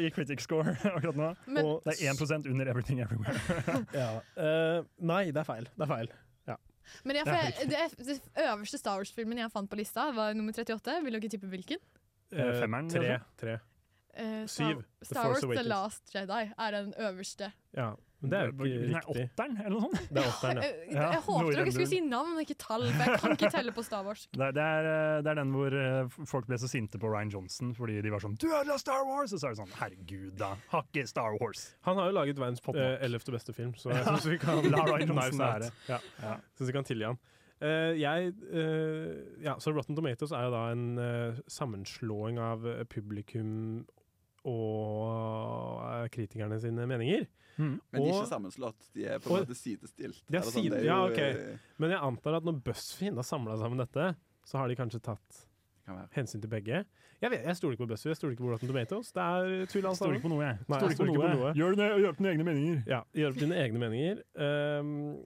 [SPEAKER 4] i critic score akkurat nå.
[SPEAKER 7] Men-
[SPEAKER 4] og det er 1 under Everything Everywhere.
[SPEAKER 7] ja. eh, nei, det er feil. Det er feil. Ja.
[SPEAKER 8] Men jeg, for jeg, det, det øverste Star Wars-filmen jeg fant på lista, var nummer 38. Vil dere tippe hvilken?
[SPEAKER 7] Eh,
[SPEAKER 4] Femmeren,
[SPEAKER 7] Tre.
[SPEAKER 4] kanskje?
[SPEAKER 7] tre.
[SPEAKER 8] Eh,
[SPEAKER 7] Syv. The
[SPEAKER 8] Star Wars
[SPEAKER 7] Force
[SPEAKER 8] The
[SPEAKER 7] Awakens.
[SPEAKER 8] Last Jedi er den øverste.
[SPEAKER 7] Ja. Men det er jo ikke
[SPEAKER 4] Nei,
[SPEAKER 7] riktig.
[SPEAKER 4] åtteren, eller noe sånt?
[SPEAKER 7] Det er åtteren,
[SPEAKER 8] Jeg,
[SPEAKER 7] ja.
[SPEAKER 8] jeg, jeg håpet dere skulle si navn, men ikke tall. For jeg kan ikke telle på Star Wars.
[SPEAKER 4] Det er, det, er, eh, det er den hvor eh, folk ble så sinte på Ryan Johnson fordi de var sånn Du ødela Star Wars! Og så er det sånn Herregud, da. Har ikke Star Wars.
[SPEAKER 7] Han har jo laget verdens eh,
[SPEAKER 4] Knock.
[SPEAKER 7] ellevte beste film, så jeg syns vi kan
[SPEAKER 4] La Ryan Johnson
[SPEAKER 7] Knives Out.
[SPEAKER 4] være.
[SPEAKER 7] Ja.
[SPEAKER 4] Ja.
[SPEAKER 7] Synes vi kan tilgi han. Eh, jeg, eh, ja, så Rotten Tomatoes er jo da en eh, sammenslåing av eh, publikum og eh, kritikerne sine meninger.
[SPEAKER 4] Hmm.
[SPEAKER 6] Men de er
[SPEAKER 7] Og-
[SPEAKER 6] ikke sammenslått. De er på en
[SPEAKER 7] og-
[SPEAKER 6] måte sidestilt.
[SPEAKER 7] Det er
[SPEAKER 6] Eller sånn,
[SPEAKER 7] siden,
[SPEAKER 6] det er
[SPEAKER 7] ja,
[SPEAKER 6] jo, eh,
[SPEAKER 7] ok. Men jeg antar at når BuzzFeed har samla sammen dette, så har de kanskje tatt hensyn til begge. Jeg, vet, jeg stoler ikke på BuzzFeed, jeg stoler ikke på Rotten Tomatoes. Det er tull alt
[SPEAKER 4] Stoler
[SPEAKER 7] sammen.
[SPEAKER 4] ikke på noe, jeg.
[SPEAKER 7] Nei,
[SPEAKER 4] Stoler ikke på noe. Gjør dine, gjør dine egne meninger.
[SPEAKER 7] Ja, gjør opp dine egne meninger. Ehm,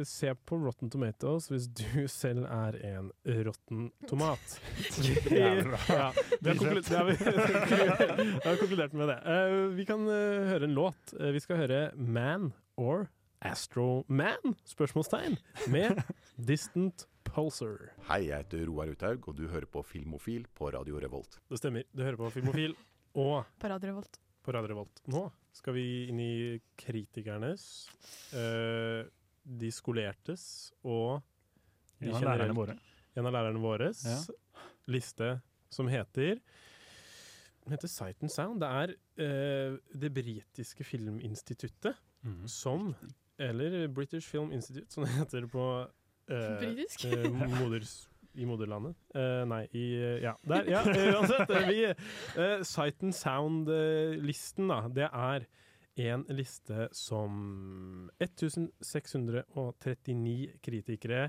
[SPEAKER 7] se på Rotten Tomatoes hvis du selv er en råtten tomat.
[SPEAKER 4] Jævlig bra.
[SPEAKER 7] Ja, vi har konkludert, det har vi, vi har konkludert med det. Eh, vi kan eh, høre en låt. Eh, vi skal høre Man or Astro Man? Spørsmålstegn med Distant Pulsar.
[SPEAKER 15] Hei, jeg heter Roar Uthaug, og du hører på Filmofil på Radio Revolt.
[SPEAKER 7] Det stemmer. Du hører på Filmofil og
[SPEAKER 8] Paraderevolt.
[SPEAKER 7] på Radio Revolt. Nå skal vi inn i kritikernes, eh, de skolertes og de
[SPEAKER 4] En av lærerne
[SPEAKER 7] generelt-
[SPEAKER 4] våre.
[SPEAKER 7] En av lærerne våres
[SPEAKER 4] Ja.
[SPEAKER 7] liste som heter den heter Sight and Sound. Det er eh, det britiske filminstituttet
[SPEAKER 4] Mm.
[SPEAKER 7] som Eller British Film Institute, som det heter på eh,
[SPEAKER 12] Britisk?
[SPEAKER 7] eh, moders, I moderlandet. Eh, nei, i eh, Ja, der. Ja, eh, uansett. eh, vi, eh, Sight and Sound-listen, da, det er en liste som 1639 kritikere,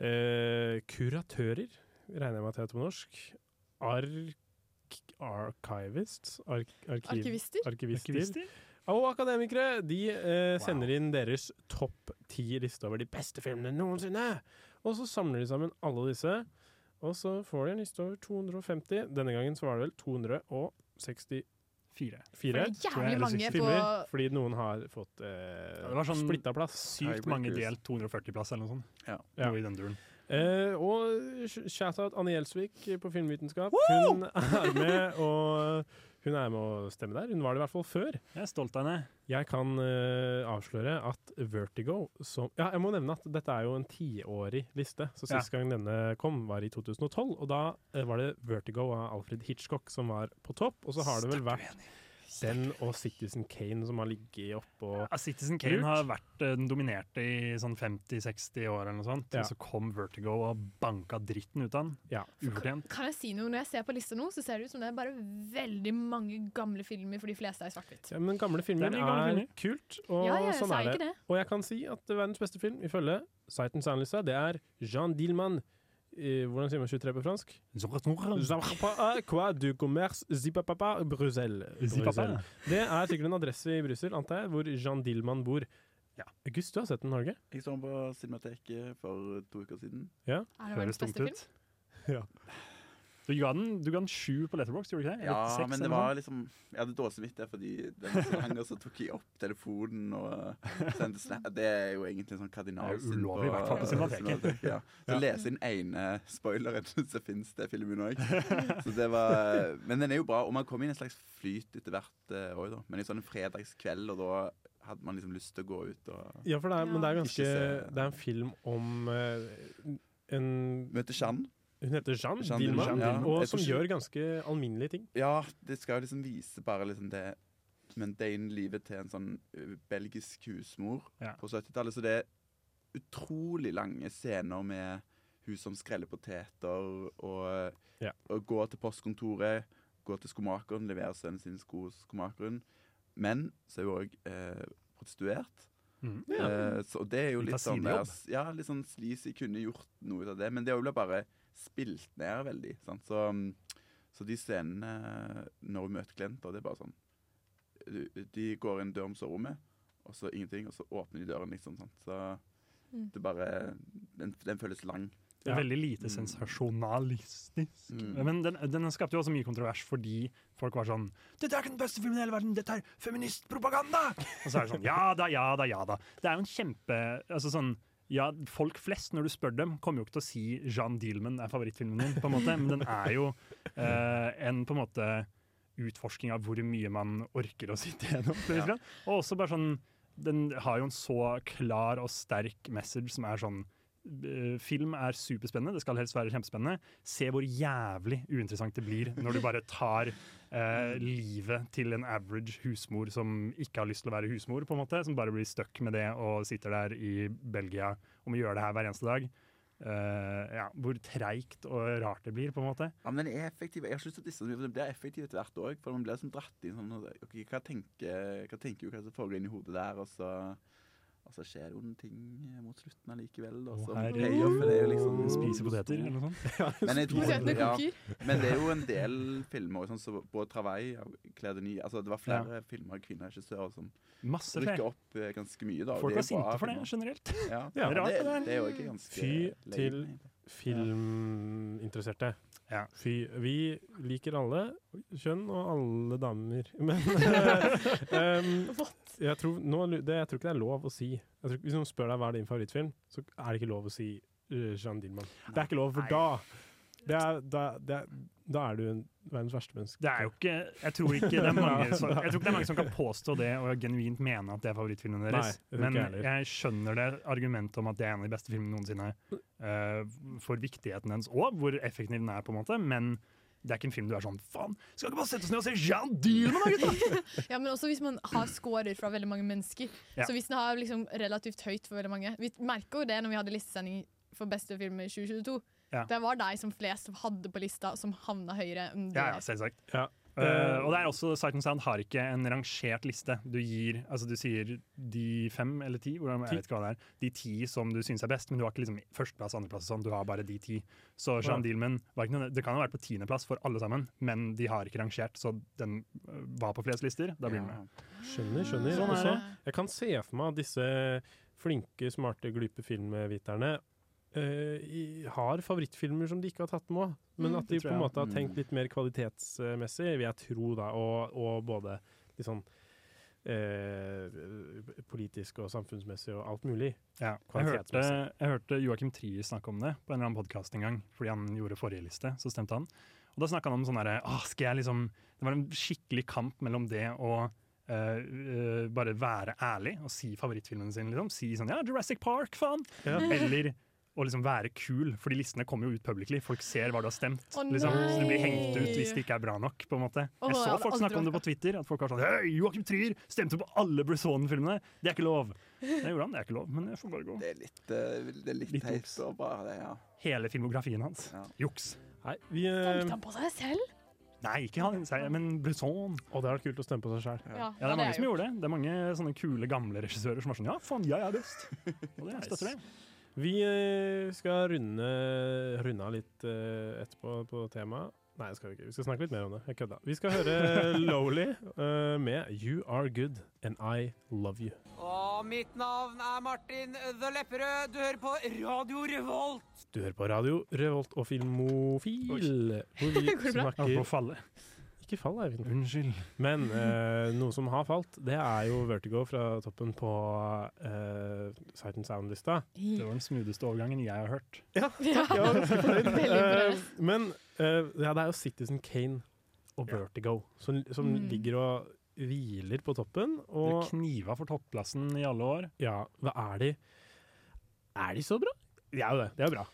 [SPEAKER 7] eh, kuratører, regner jeg med at det heter på norsk, ark, archivists, ark, arkiv,
[SPEAKER 8] Arkivister?
[SPEAKER 7] arkivister,
[SPEAKER 4] Arkivister?
[SPEAKER 7] og akademikere, de eh, sender inn deres topp ti liste over de beste filmene noensinne. Og så samler de sammen alle disse, Og så får de en liste over 250. Denne gangen så var det vel 264. Fire,
[SPEAKER 8] For det er
[SPEAKER 7] tror jeg,
[SPEAKER 8] jævlig
[SPEAKER 7] eller
[SPEAKER 8] mange på-
[SPEAKER 7] seks filmer, Fordi noen har fått eh,
[SPEAKER 4] Ja, det var sånn
[SPEAKER 7] splitta plass.
[SPEAKER 4] sykt mange delt 240-plass eller noe sånt.
[SPEAKER 6] Ja.
[SPEAKER 4] Noe i den duren.
[SPEAKER 7] Eh, og sh- shout-out Anne Gjelsvik på Filmvitenskap. Hun er med og hun er med å stemme der. Hun var det i hvert fall før.
[SPEAKER 4] Jeg er stolt av henne.
[SPEAKER 7] Jeg kan eh, avsløre at Vertigo som Ja, jeg må nevne at dette er jo en tiårig liste. Så sist gang denne kom, var i 2012. Og da eh, var det Vertigo av Alfred Hitchcock som var på topp. Og så har det vel vært den og Citizen Kane som har ligget oppå
[SPEAKER 4] Ja, Citizen Kane har vært eh, den dominerte i sånn 50-60 år, eller noe sånt.
[SPEAKER 7] Ja.
[SPEAKER 4] Og så kom Vertigo og banka dritten ut av den. Ufortjent.
[SPEAKER 8] Kan jeg si noe? Når jeg ser på lista nå, så ser det ut som det er bare veldig mange gamle filmer, for de fleste er i svart-hvitt.
[SPEAKER 7] Ja, men gamle filmer er,
[SPEAKER 4] Det er mye gamle filmer.
[SPEAKER 7] kult, og
[SPEAKER 8] Ja, ja, jeg
[SPEAKER 7] sånn
[SPEAKER 8] sa
[SPEAKER 7] er det.
[SPEAKER 8] ikke det.
[SPEAKER 7] Og jeg kan si at verdens beste film ifølge Sightens analyse, det er Jean Dielmann. Eh, hvordan sier man 23 på fransk? Zapapa, quoi du commerce, zipapapa, Brussel.
[SPEAKER 4] Zipapa.
[SPEAKER 7] Brussel. Det er sikkert en adresse i Brussel, antar jeg, hvor Jean Dielmann bor. August, du har sett den i Norge?
[SPEAKER 6] Jeg så den på Cinemateket for to uker siden.
[SPEAKER 7] Ja.
[SPEAKER 8] Er det verdens beste film?
[SPEAKER 7] Ja.
[SPEAKER 4] Du ga den, du ga den sju på Letterbox, gjorde du ikke det? Eller
[SPEAKER 6] Ja,
[SPEAKER 4] seks,
[SPEAKER 6] men det
[SPEAKER 4] eller
[SPEAKER 6] var
[SPEAKER 4] noe?
[SPEAKER 6] liksom Jeg hadde dårlig samvittighet fordi den var så lang, og så tok jeg opp telefonen og sendte snap. Det er jo egentlig en sånn kardinal
[SPEAKER 4] Det er ulovlig, i hvert fall på Cinemateket.
[SPEAKER 6] Ja. Så
[SPEAKER 4] Ja.
[SPEAKER 6] lese inn ene spoileren, så fins det filmen òg. Så det var Men den er jo bra, og man kom inn i en slags flyt etter hvert eh, år, da. Men i sånn en fredagskveld, og da hadde man liksom lyst til å gå ut og
[SPEAKER 7] Ja, for det er, men det er
[SPEAKER 6] Ikke
[SPEAKER 7] ganske
[SPEAKER 6] se-
[SPEAKER 7] Det er en film om eh, en
[SPEAKER 6] Møter Jeanne.
[SPEAKER 7] Hun heter Jeanne,
[SPEAKER 6] Jeanne
[SPEAKER 7] Dielmann,
[SPEAKER 6] Dielmann, ja.
[SPEAKER 7] og
[SPEAKER 6] Jeg
[SPEAKER 7] som
[SPEAKER 6] tror ikke-
[SPEAKER 7] gjør ganske alminnelige ting.
[SPEAKER 6] Ja, det skal jo liksom vise bare liksom det mundane-livet til en sånn ø, belgisk husmor
[SPEAKER 4] Ja.
[SPEAKER 6] på 70-tallet. Så det er utrolig lange scener med hun som skreller poteter, og,
[SPEAKER 7] Ja.
[SPEAKER 6] og går til postkontoret, går til skomakeren, leverer sønnen sin sko hos skomakeren. Men så er hun òg eh, prostituert.
[SPEAKER 4] Mhm.
[SPEAKER 6] Eh, så det er jo
[SPEAKER 4] Litt
[SPEAKER 6] litt
[SPEAKER 4] av
[SPEAKER 6] sånn, der,
[SPEAKER 4] sidejobb.
[SPEAKER 6] ja, litt sånn sleazy, kunne gjort noe ut av det, men det ble bare spilt ned veldig. Sant? Så, mm, så de scenene når vi møter klienter, det er bare sånn du- De går inn døren på soverommet, og så ingenting, og så åpner de døren, liksom. Sant? Så
[SPEAKER 8] Mm.
[SPEAKER 6] det bare Den, den føles lang.
[SPEAKER 4] Det er veldig lite sensasjonalistisk. Men den, den skapte jo også mye kontrovers fordi folk var sånn Dette er ikke den beste filmen i hele verden, dette er feministpropaganda! Og så er det sånn Ja da, ja da, ja da. Det er jo en kjempe altså sånn, ja, Folk flest, når du spør dem, kommer jo ikke til å si Jean Dielman er favorittfilmen din, på en måte, men den er jo eh, en på en måte utforsking av hvor mye man orker å sitte gjennom. til og med. Og også bare sånn Den har jo en så klar og sterk message som er sånn eh, Film er superspennende, det skal helst være kjempespennende. Se hvor jævlig uinteressant det blir når du bare tar eh, livet til en average husmor som ikke har lyst til å være husmor, på en måte, som bare blir stuck med det og sitter der i Belgia og må gjøre det her hver eneste dag. Eh, ja, hvor treigt og rart det blir, på en måte.
[SPEAKER 6] Ja, men den er effektiv. Jeg har ikke lyst til å disse den, for den blir effektiv etter hvert òg. For man blir liksom dratt inn sånn ok, Hva tenker hva tenker hun, hva som foregår inni hodet der? Og så, og så skjer det jo noen ting mot slutten allikevel. Og så
[SPEAKER 4] herregud.
[SPEAKER 6] payoffen er jo liksom
[SPEAKER 4] Spise poteter, eller noe sånt? Ja,
[SPEAKER 6] Men, jeg tror,
[SPEAKER 4] Potetene
[SPEAKER 6] ja,
[SPEAKER 4] koker.
[SPEAKER 6] men det er jo en del filmer sånn som på Travail av Claire Denis altså, Det var flere filmer av kvinnelige regissører som
[SPEAKER 4] Masse flere.
[SPEAKER 6] rykker opp eh, ganske mye. Da. og
[SPEAKER 4] Folk var
[SPEAKER 6] det er bra
[SPEAKER 4] sinte for det,
[SPEAKER 6] filmer.
[SPEAKER 4] generelt.
[SPEAKER 6] Ja,
[SPEAKER 4] Det er
[SPEAKER 6] men
[SPEAKER 4] rart,
[SPEAKER 6] det,
[SPEAKER 4] det
[SPEAKER 6] det er jo
[SPEAKER 4] der.
[SPEAKER 6] ikke ganske
[SPEAKER 7] Fy
[SPEAKER 6] lenge.
[SPEAKER 7] til filminteresserte. Fy, vi liker alle kjønn og alle damer, men ehm, jeg, tror, nå, lu- det, jeg tror ikke det er lov å si jeg tror, ikke- Hvis noen spør deg hva er din favorittfilm, så er det ikke lov å si uh, Jean Dielmann. Det er ikke lov, for da det er, da, det er, da er du en verdens verste menneske.
[SPEAKER 4] Det er jo ikke Jeg tror ikke det er mange som, jeg tror ikke det er mange som kan påstå det og genuint mene at det er favorittfilmen deres.
[SPEAKER 7] Nei, det tror ikke
[SPEAKER 4] Men
[SPEAKER 7] jeg heller.
[SPEAKER 4] jeg skjønner det argumentet om at det er en av de beste filmene noensinne. eh, for viktigheten dens og hvor effektiv den er, på en måte. Men det er ikke en film du er sånn Faen, skal ikke bare sette oss ned og se Jean Dielman, da, gutta!
[SPEAKER 8] Ja, men også hvis man har scorer fra veldig mange mennesker.
[SPEAKER 4] Ja.
[SPEAKER 8] Så hvis den har liksom relativt høyt for veldig mange Vi merker jo det når vi hadde listesending for beste film i 2022.
[SPEAKER 4] Ja.
[SPEAKER 8] Det var deg som flest hadde på lista, som havna høyere enn
[SPEAKER 4] Ja, ja,
[SPEAKER 8] dere.
[SPEAKER 4] selvsagt.
[SPEAKER 7] Eh,
[SPEAKER 4] Eh, og det er også Sight and Sound har ikke en rangert liste. Du gir, altså du sier de fem eller ti,
[SPEAKER 7] Ti.
[SPEAKER 4] hvordan, jeg vet ikke hva det er. De ti som du syns er best, men du har ikke liksom førsteplass, andreplass og sånn. Du har bare de ti. Så Jean
[SPEAKER 7] Ja.
[SPEAKER 4] Dielman var ikke noe, Det kan ha vært på tiendeplass for alle sammen, men de har ikke rangert, så den eh, var på flest lister. Da blir den med.
[SPEAKER 7] Skjønner, skjønner.
[SPEAKER 4] Sånn er
[SPEAKER 7] Også,
[SPEAKER 4] det.
[SPEAKER 7] jeg kan se for meg at disse flinke, smarte, glupe filmviterne eh, i, har favorittfilmer som de ikke har tatt med òg, men
[SPEAKER 13] Mm.
[SPEAKER 7] at de
[SPEAKER 13] Det tror
[SPEAKER 7] på en
[SPEAKER 13] jeg.
[SPEAKER 7] måte har tenkt litt mer kvalitetsmessig, vil jeg tro, da. Og, og både litt sånn eh, politisk og samfunnsmessig og alt mulig.
[SPEAKER 4] Ja, jeg hørte,
[SPEAKER 7] Kvalitetsmessig.
[SPEAKER 4] jeg hørte Joakim Trier snakke om det på en eller annen podkast en gang. Fordi han gjorde forrige liste, så stemte han. Og da snakka han om sånn derre «Åh, skal jeg liksom Det var en skikkelig kamp mellom det å eh, eh, bare være ærlig og si favorittfilmen sin, liksom. Si sånn ja, Jurassic Park, faen!
[SPEAKER 7] Ja.
[SPEAKER 4] Eller å liksom være kul, fordi listene kommer jo ut publicly. Folk ser hva du har stemt.
[SPEAKER 8] Å,
[SPEAKER 4] liksom. Så du blir
[SPEAKER 8] nei!
[SPEAKER 4] hengt ut hvis det ikke er bra nok, på en måte.
[SPEAKER 8] Åh,
[SPEAKER 4] jeg
[SPEAKER 8] jeg
[SPEAKER 4] så
[SPEAKER 8] hadde
[SPEAKER 4] folk
[SPEAKER 8] aldri
[SPEAKER 4] snakke om det på Twitter, at folk var sånn Hei, Joakim Trier stemte på alle Brisson-filmene! Det er ikke lov! Det gjorde han, det er ikke lov, men jeg får bare gå.
[SPEAKER 6] Det er litt, eh, det er litt,
[SPEAKER 4] Litt
[SPEAKER 6] teit å bare det, ja.
[SPEAKER 4] Hele filmografien hans. Juks.
[SPEAKER 7] Nei, vi, eh,
[SPEAKER 8] Tenkte han på seg selv?
[SPEAKER 4] Nei, ikke han, sier jeg, men Bresson.
[SPEAKER 7] Og det har vært kult å stemme på seg sjøl.
[SPEAKER 8] Ja,
[SPEAKER 4] Ja,
[SPEAKER 8] hadde
[SPEAKER 4] det er mange
[SPEAKER 8] jeg
[SPEAKER 4] som
[SPEAKER 8] gjort.
[SPEAKER 4] gjorde det. Det er mange sånne kule, gamle regissører som er sånn Ja, faen, jeg er best! Og det jeg støtter det.
[SPEAKER 7] Vi eh, skal runde, runde av litt eh, etterpå på temaet. Nei, det skal vi ikke. Vi skal snakke litt mer om det. Jeg kødda. Vi skal høre Lowly eh, med 'You Are Good and I Love You'.
[SPEAKER 16] Og mitt navn er Martin The Lepperød. Du hører på Radio Revolt.
[SPEAKER 7] Du hører på radio Revolt og Filmofil, hvor
[SPEAKER 16] Går
[SPEAKER 7] vi
[SPEAKER 16] det bra?
[SPEAKER 7] snakker
[SPEAKER 4] Ja, på falle.
[SPEAKER 7] Ikke fall, Eivind.
[SPEAKER 4] Unnskyld.
[SPEAKER 7] Men eh, noe som har falt, det er jo Vertigo fra toppen på eh, Sight and Sound-lista.
[SPEAKER 4] Det var den smootheste overgangen jeg har hørt.
[SPEAKER 7] Ja, takk, jeg var ganske fornøyd.
[SPEAKER 4] Veldig
[SPEAKER 7] Eh, men eh, ja, det er jo Citizen Kane og Vertigo som, som
[SPEAKER 4] Mm.
[SPEAKER 7] ligger og hviler på toppen.
[SPEAKER 4] Dere
[SPEAKER 7] Og
[SPEAKER 4] kniva for topplassen i alle år.
[SPEAKER 7] ja, hva er de? Er de så bra? De er jo det. Det er jo bra.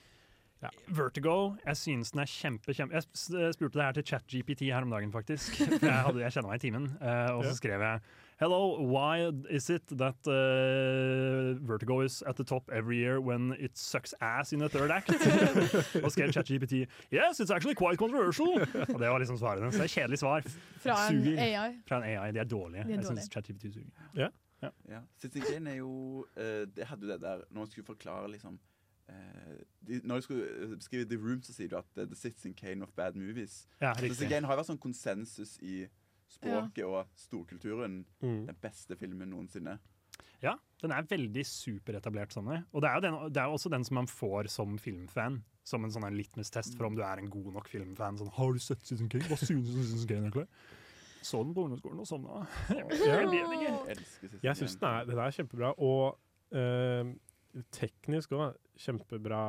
[SPEAKER 4] Vertigo, jeg synes den er kjempe, kjempe Jeg sp- s- spurte det her til ChatGPT her om dagen, faktisk. For Jeg, hadde, jeg kjenner meg i timen. eh, og
[SPEAKER 7] Ja.
[SPEAKER 4] så skrev jeg Hello, why is it that eh, Vertigo is at the top every year when it sucks ass in the third act? og skrev ChatGPT Yes, it's actually quite controversial! Og det var liksom svaret hennes. Det er kjedelig svar.
[SPEAKER 8] Fra en
[SPEAKER 4] Suger.
[SPEAKER 8] AI.
[SPEAKER 4] Fra en AI. De er dårlige.
[SPEAKER 8] De er
[SPEAKER 4] Jeg
[SPEAKER 8] dårlige.
[SPEAKER 4] synes ChatGPT suger.
[SPEAKER 7] Ja.
[SPEAKER 6] Ja. Citizen Kane er jo eh, Det hadde jo det der Når jeg skulle forklare liksom eh, de, Når jeg skulle eh, skrive The Room, så sier du at det er The Citizen Kane of Bad Movies.
[SPEAKER 4] Ja, riktig.
[SPEAKER 6] Citizen Kane har jo vært sånn konsensus i språket og storkulturen.
[SPEAKER 4] Mm.
[SPEAKER 6] Den beste filmen noensinne.
[SPEAKER 4] Ja, den er veldig superetablert sånn. Og det er, jo den, det er jo også den som man får som filmfan. Som en sånn en litmus-test for om du er en god nok filmfan. Sånn, har du sett Citizen Kane? Hva synes du om Citizen Kane egentlig? Så den på ungdomsskolen og sovna. Jeg ble
[SPEAKER 7] Ja.
[SPEAKER 4] veldig enig.
[SPEAKER 7] Jeg syns den er, den er kjempebra, og eh, teknisk òg kjempebra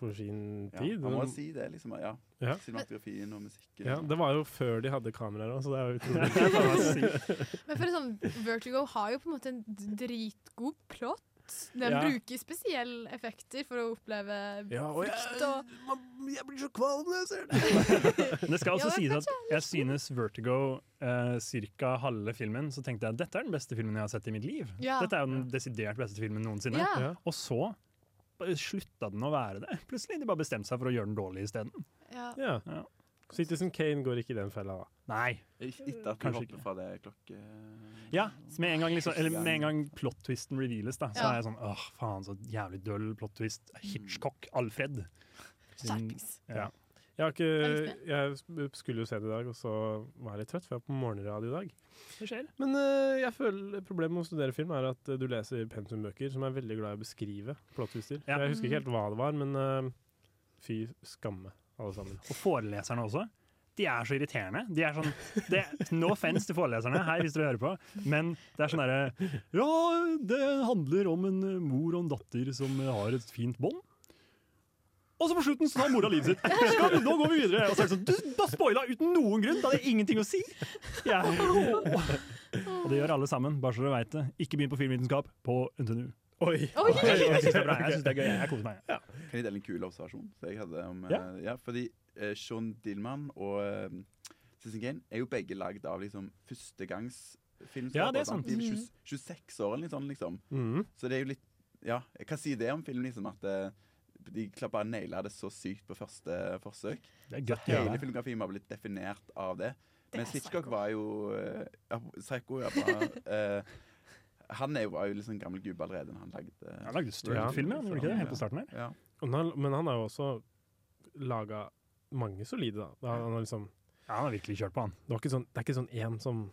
[SPEAKER 7] for sin
[SPEAKER 6] Ja,
[SPEAKER 7] tid.
[SPEAKER 6] man må si det, liksom. Ja.
[SPEAKER 7] Ja.
[SPEAKER 6] Cinematografien og musikken.
[SPEAKER 7] Ja, det var jo før de hadde kameraer òg, så det er jo utrolig.
[SPEAKER 6] Det er bare
[SPEAKER 8] Men for sånn, Vertigo har jo på en måte en dritgod plott. Den
[SPEAKER 7] Ja.
[SPEAKER 8] bruker spesielle effekter for å oppleve
[SPEAKER 4] Ja, og jeg-
[SPEAKER 8] frykt og
[SPEAKER 12] Jeg blir så kvalm når jeg ser den!
[SPEAKER 4] Men det skal også
[SPEAKER 8] Ja, sånn.
[SPEAKER 4] sies at jeg synes Vertigo eh, cirka halve filmen, så tenkte jeg at dette er den beste filmen jeg har sett i mitt liv.
[SPEAKER 8] Ja.
[SPEAKER 4] Dette er jo den desidert beste filmen noensinne.
[SPEAKER 8] Ja. Ja.
[SPEAKER 4] Og så bare slutta den å være det. Plutselig de bare bestemte seg for å gjøre den dårlig isteden.
[SPEAKER 8] ja.
[SPEAKER 7] Ja. Citizen Kane går ikke i den fella, da.
[SPEAKER 4] Nei.
[SPEAKER 6] Ikke etter at
[SPEAKER 4] Kanskje
[SPEAKER 6] du hopper fra det klokke...
[SPEAKER 4] Ja, så med en gang, liksom, eller med en gang plot-twisten reveales, da, så
[SPEAKER 6] Ja.
[SPEAKER 4] er jeg sånn åh, faen, så jævlig døll plot-twist. Hitchcock, Alfred. Sin- Ja.
[SPEAKER 7] Jeg, har ikke, jeg sp- skulle jo se det i dag, og så var jeg litt trøtt, for jeg var på morgenradio i dag.
[SPEAKER 4] Det skjer.
[SPEAKER 7] Men eh, jeg føler problemet med å studere film er at eh, du leser pensumbøker som er veldig glad i å beskrive plottvister.
[SPEAKER 4] Ja.
[SPEAKER 7] Jeg husker ikke helt hva det var, men eh, fy skamme, alle sammen.
[SPEAKER 4] Og foreleserne også. De er så irriterende. De er sånn, det, no offense til foreleserne, hei hvis dere hører på, men det er sånn derre Ja, det handler om en eh, mor og en datter som eh, har et fint bånd. Og så på slutten så tar mora livet sitt. Skal vi, nå går vi videre. Og så er det sånn, du da spoila uten noen grunn! Da hadde jeg ingenting å si! Jeg, åh. Og det gjør alle sammen, bare så dere veit det. Ikke begynn på filmvitenskap på NTNU.
[SPEAKER 7] Oi!
[SPEAKER 6] Oi!
[SPEAKER 4] Jeg, jeg syns det er bra. Jeg synes det er gøy. Jeg koser meg.
[SPEAKER 6] Kan jeg dele en kul observasjon? som jeg hadde om,
[SPEAKER 4] Ja.
[SPEAKER 6] eh, ja, fordi eh, Sean Dillman og eh, Citizen Kane er jo begge lagd av liksom, førstegangsfilmskapere.
[SPEAKER 4] Ja, det er sant.
[SPEAKER 6] De er
[SPEAKER 4] Mhm.
[SPEAKER 6] 20, 26 år eller noe sånt, liksom.
[SPEAKER 7] Mm.
[SPEAKER 4] Mhm.
[SPEAKER 6] Så det er jo litt Ja, hva sier det om filmen, liksom? At eh, de klart bare naila det så sykt på første forsøk.
[SPEAKER 4] Det er
[SPEAKER 6] Så
[SPEAKER 4] godt å
[SPEAKER 6] hele
[SPEAKER 4] gjøre.
[SPEAKER 6] filmografien var blitt definert av det.
[SPEAKER 4] Det
[SPEAKER 6] Men
[SPEAKER 4] er
[SPEAKER 6] Hitchcock var jo eh, ja, Psycho, ja. Bra. eh, han er jo, var jo litt sånn gammel gubbe allerede da han lagde
[SPEAKER 4] Han lagde studentfilmer, han gjorde ikke det, helt på starten her?
[SPEAKER 6] Ja.
[SPEAKER 7] Men han- Men han har jo også laga mange solide, da. da han har liksom,
[SPEAKER 4] ja, han har virkelig kjørt på, han.
[SPEAKER 7] Det, var ikke sånn, det er ikke sånn én som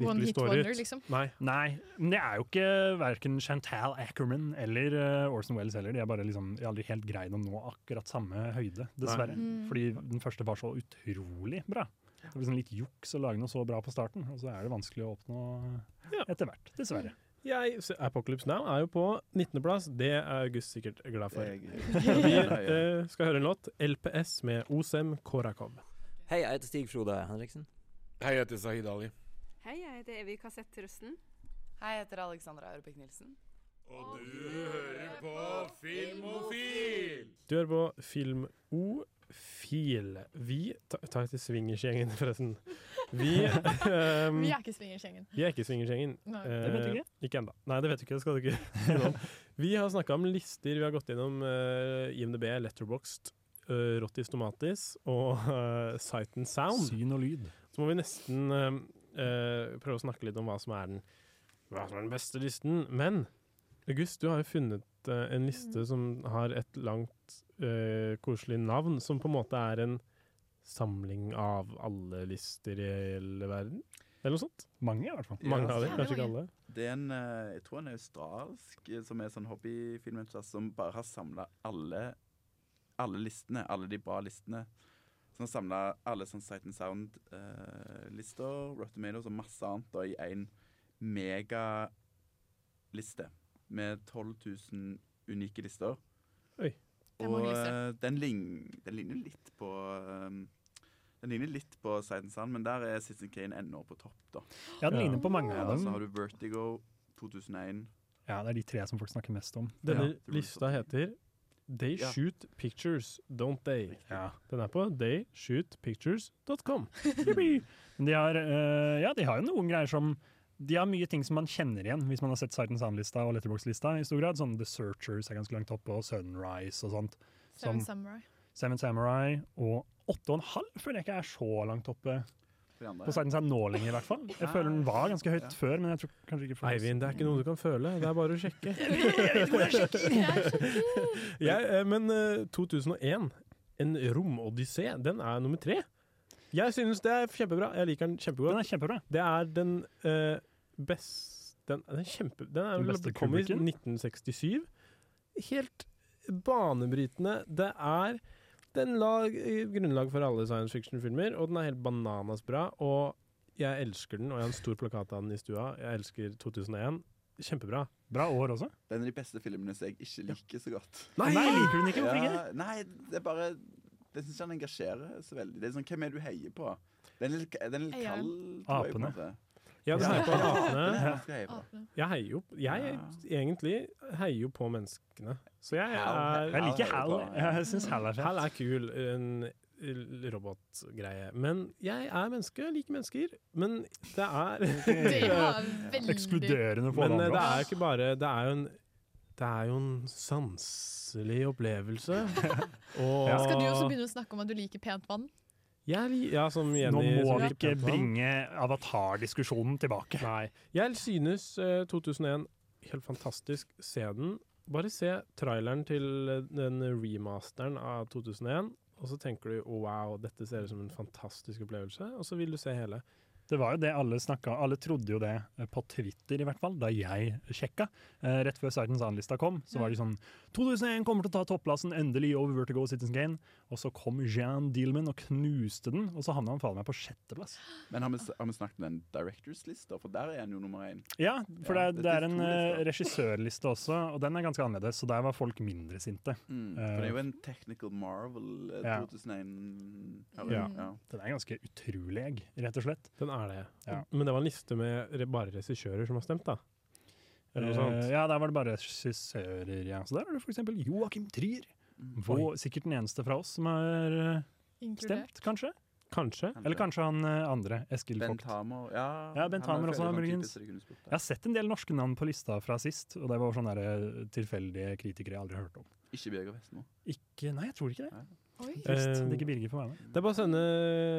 [SPEAKER 8] One
[SPEAKER 7] virkelig
[SPEAKER 8] hit
[SPEAKER 7] står
[SPEAKER 8] wonder,
[SPEAKER 7] ut.
[SPEAKER 8] liksom.
[SPEAKER 7] Nei.
[SPEAKER 4] Nei, men det er jo ikke verken Chantal Ackerman eller eh, Orson Welles heller. De er bare liksom, de har aldri helt greid å nå akkurat samme høyde, dessverre.
[SPEAKER 8] Mm.
[SPEAKER 4] Fordi den første var så utrolig bra. Det blir sånn litt juks å lage noe så bra på starten, og så er det vanskelig å oppnå etter hvert, dessverre.
[SPEAKER 7] Jeg, så Apocalypse Now er jo på 19.-plass. Det er August sikkert glad for.
[SPEAKER 6] Det
[SPEAKER 7] Og Vi eh, skal høre en låt. LPS med Osem Korakob.
[SPEAKER 17] Hei, jeg heter Stig Frode Henriksen. Hei, jeg heter Sahid Ali.
[SPEAKER 3] Hei, jeg heter Evy Kassett Rusten.
[SPEAKER 5] Hei, jeg heter Alexandra Aurebekk Nilsen.
[SPEAKER 12] Og du hører på Filmofil!
[SPEAKER 7] Du hører på Filmofil. Vi ta- tar til swingersgjengen, forresten. Vi ehm,
[SPEAKER 8] Vi er ikke swingersgjengen.
[SPEAKER 7] Vi er ikke swingersgjengen.
[SPEAKER 8] Nei.
[SPEAKER 7] Eh,
[SPEAKER 8] Det vet du ikke?
[SPEAKER 7] Ikke ennå. Nei, det vet du ikke. Det skal du ikke finne om. Vi har snakka om lister. Vi har gått gjennom eh, IMDb, Letterboxd, eh, Rottis Tomatis og eh, Sight and Sound.
[SPEAKER 4] Syn og lyd.
[SPEAKER 7] Så må vi nesten eh, eh, prøve å snakke litt om hva som er den, hva som er den beste listen. Men August, du har jo funnet eh, en liste som har et langt, eh, koselig navn, som på en måte er en samling av alle lister i hele verden? Eller noe sånt?
[SPEAKER 4] Mange, i hvert fall.
[SPEAKER 7] Mange
[SPEAKER 6] Ja.
[SPEAKER 7] av dem, kanskje ikke alle.
[SPEAKER 6] Det er en, eh, jeg tror han er australsk, eh, som er sånn hobbyfilmentusiast, som bare har samla alle, alle listene, alle de bra listene. Så han samla alle sånn Sight and Sound-lister, Rotten Tomatoes og masse annet da, i én megaliste med 12 000 unike lister.
[SPEAKER 7] Oi. Det er
[SPEAKER 6] Og
[SPEAKER 7] mange lister.
[SPEAKER 6] eh, den, lign, den ligner litt på eh, den ligner litt på Sight and Sound, men der er Citizen Kane ennå på topp. da.
[SPEAKER 4] Ja, den ligner på mange av
[SPEAKER 6] Ja,
[SPEAKER 4] dem.
[SPEAKER 6] Så har du Vertigo 2001.
[SPEAKER 4] Ja, det er de tre som folk snakker mest om.
[SPEAKER 7] Denne
[SPEAKER 4] ja.
[SPEAKER 7] lista heter They
[SPEAKER 6] Ja.
[SPEAKER 7] Shoot Pictures, Don't They. Den er på theyshootpictures.com.
[SPEAKER 4] Men de har, eh, ja, de har jo noen greier som De har mye ting som man kjenner igjen hvis man har sett Sight and Sound-lista og Letterboxd-lista i stor grad. Sånn The Searchers er ganske langt oppe, og Sunrise og sånt.
[SPEAKER 8] Seven
[SPEAKER 4] Som
[SPEAKER 8] Samurai.
[SPEAKER 4] Seven Samurai og Åtte og en halv føler jeg ikke er så langt oppe på Sight and Sound nå lenger, i hvert fall. Jeg føler den var ganske høyt før, men jeg tror kanskje ikke folk-
[SPEAKER 7] Eivind, det er ikke noe du kan føle, det er bare å sjekke. Jeg, eh, men eh, 2001, En romodyssé, den er nummer tre. Jeg synes det er kjempebra. Jeg liker den kjempegodt.
[SPEAKER 4] Den er kjempebra.
[SPEAKER 7] Det er den eh, best... Den, den, er kjempe, den, er
[SPEAKER 4] Den
[SPEAKER 7] vel-
[SPEAKER 4] beste
[SPEAKER 7] kom i
[SPEAKER 4] Kubricken?
[SPEAKER 7] 1967. Helt banebrytende. Det er Den la eh, grunnlag for alle science fiction-filmer, og den er helt bananas bra. Og jeg elsker den, og jeg har en stor plakat av den i stua. Jeg elsker 2001. Kjempebra.
[SPEAKER 4] Bra år også.
[SPEAKER 6] Det er en av de beste filmene som jeg ikke liker så godt.
[SPEAKER 7] Nei! Nei, liker du den ikke? Hvorfor
[SPEAKER 6] Ja, nei, det er bare Jeg syns ikke han engasjerer så veldig. Det er sånn, Hvem er det du heier på? Den er litt, den er litt kald. tror jeg, på en
[SPEAKER 7] Apene.
[SPEAKER 6] måte.
[SPEAKER 7] Ja, du heier på
[SPEAKER 6] Den er
[SPEAKER 7] apene.
[SPEAKER 6] man skal heie på.
[SPEAKER 7] Jeg heier jo Jeg egentlig heier jo på menneskene. Så jeg
[SPEAKER 4] Hal.
[SPEAKER 7] er
[SPEAKER 4] Jeg liker Hal. Jeg synes Hal er fett.
[SPEAKER 7] Hal er kul. En robotgreie. Men jeg er menneske, jeg liker mennesker. Men det er
[SPEAKER 8] Det var veldig-
[SPEAKER 4] Ekskluderende for alle
[SPEAKER 7] Men eh,
[SPEAKER 4] andre,
[SPEAKER 7] det er
[SPEAKER 4] ass.
[SPEAKER 7] ikke bare Det er jo en det er jo en sanselig opplevelse. Og
[SPEAKER 8] Skal du også begynne å snakke om at du liker pent vann?
[SPEAKER 7] Jeg, li- ja, som Jenny,
[SPEAKER 4] Nå må
[SPEAKER 7] som
[SPEAKER 4] vi
[SPEAKER 7] liker
[SPEAKER 4] ikke
[SPEAKER 7] Pentagon.
[SPEAKER 4] bringe avatar-diskusjonen tilbake.
[SPEAKER 7] Nei. Jeg synes eh, 2001 helt fantastisk. Se den. Bare se traileren til eh, den remasteren av 2001, og så tenker du oh, wow, dette ser ut som en fantastisk opplevelse, og så vil du se hele.
[SPEAKER 4] Det var jo det alle snakka Alle trodde jo det eh, på Twitter, i hvert fall, da jeg sjekka. Eh, rett før Sightens Annen-lista kom, så var de sånn 2001 kommer til å ta topplassen, endelig, over Vertigo og Citizen Kane. Og så kom Jean Dealman og knuste den, og så havna han faen meg på sjetteplass.
[SPEAKER 6] Men har vi, s- har vi snakket om den directors-lista? For der er han jo nummer én.
[SPEAKER 4] Ja, for
[SPEAKER 6] Ja,
[SPEAKER 4] det, er-
[SPEAKER 6] det
[SPEAKER 4] det
[SPEAKER 6] er
[SPEAKER 4] er en
[SPEAKER 6] to lister.
[SPEAKER 4] eh, regissørliste også, og den er ganske annerledes, så der var folk mindre sinte.
[SPEAKER 6] Mm.
[SPEAKER 4] Eh,
[SPEAKER 6] For det er jo en Technical Marvel eh,
[SPEAKER 4] Ja.
[SPEAKER 6] 2001. hører
[SPEAKER 4] ja.
[SPEAKER 6] jeg. Ja.
[SPEAKER 4] Den er ganske utrolig, egg, rett og slett.
[SPEAKER 7] Den er det.
[SPEAKER 4] Ja.
[SPEAKER 7] Men det var en liste med re bare regissører som har stemt, da. Eller noe
[SPEAKER 4] Eh,
[SPEAKER 7] sånt.
[SPEAKER 4] ja, der var det bare regissører. Ja. Så der er det f.eks. Joakim Trier. Vår, sikkert den eneste fra oss som er eh,
[SPEAKER 8] Inkludert.
[SPEAKER 4] stemt, kanskje?
[SPEAKER 7] Kanskje.
[SPEAKER 4] Eller kanskje han eh, andre, Eskil
[SPEAKER 6] Bent
[SPEAKER 4] Vogt.
[SPEAKER 6] Hamer. Ja,
[SPEAKER 4] Ja, Bent
[SPEAKER 6] han er
[SPEAKER 4] Hamer
[SPEAKER 6] jo
[SPEAKER 4] også,
[SPEAKER 6] veldig sånn
[SPEAKER 4] muligens.
[SPEAKER 6] typisk dere kunne spurt
[SPEAKER 4] Jeg har sett en del norske navn på lista fra sist, og det var sånne der, eh, tilfeldige kritikere jeg aldri har hørt om.
[SPEAKER 6] der. Ikke Bjørg og Vestmo.
[SPEAKER 4] Ikke, nei, jeg tror ikke det.
[SPEAKER 8] Oi.
[SPEAKER 4] Trist.
[SPEAKER 7] Eh,
[SPEAKER 4] det er ikke Birger får være med.
[SPEAKER 7] Det er bare å sende,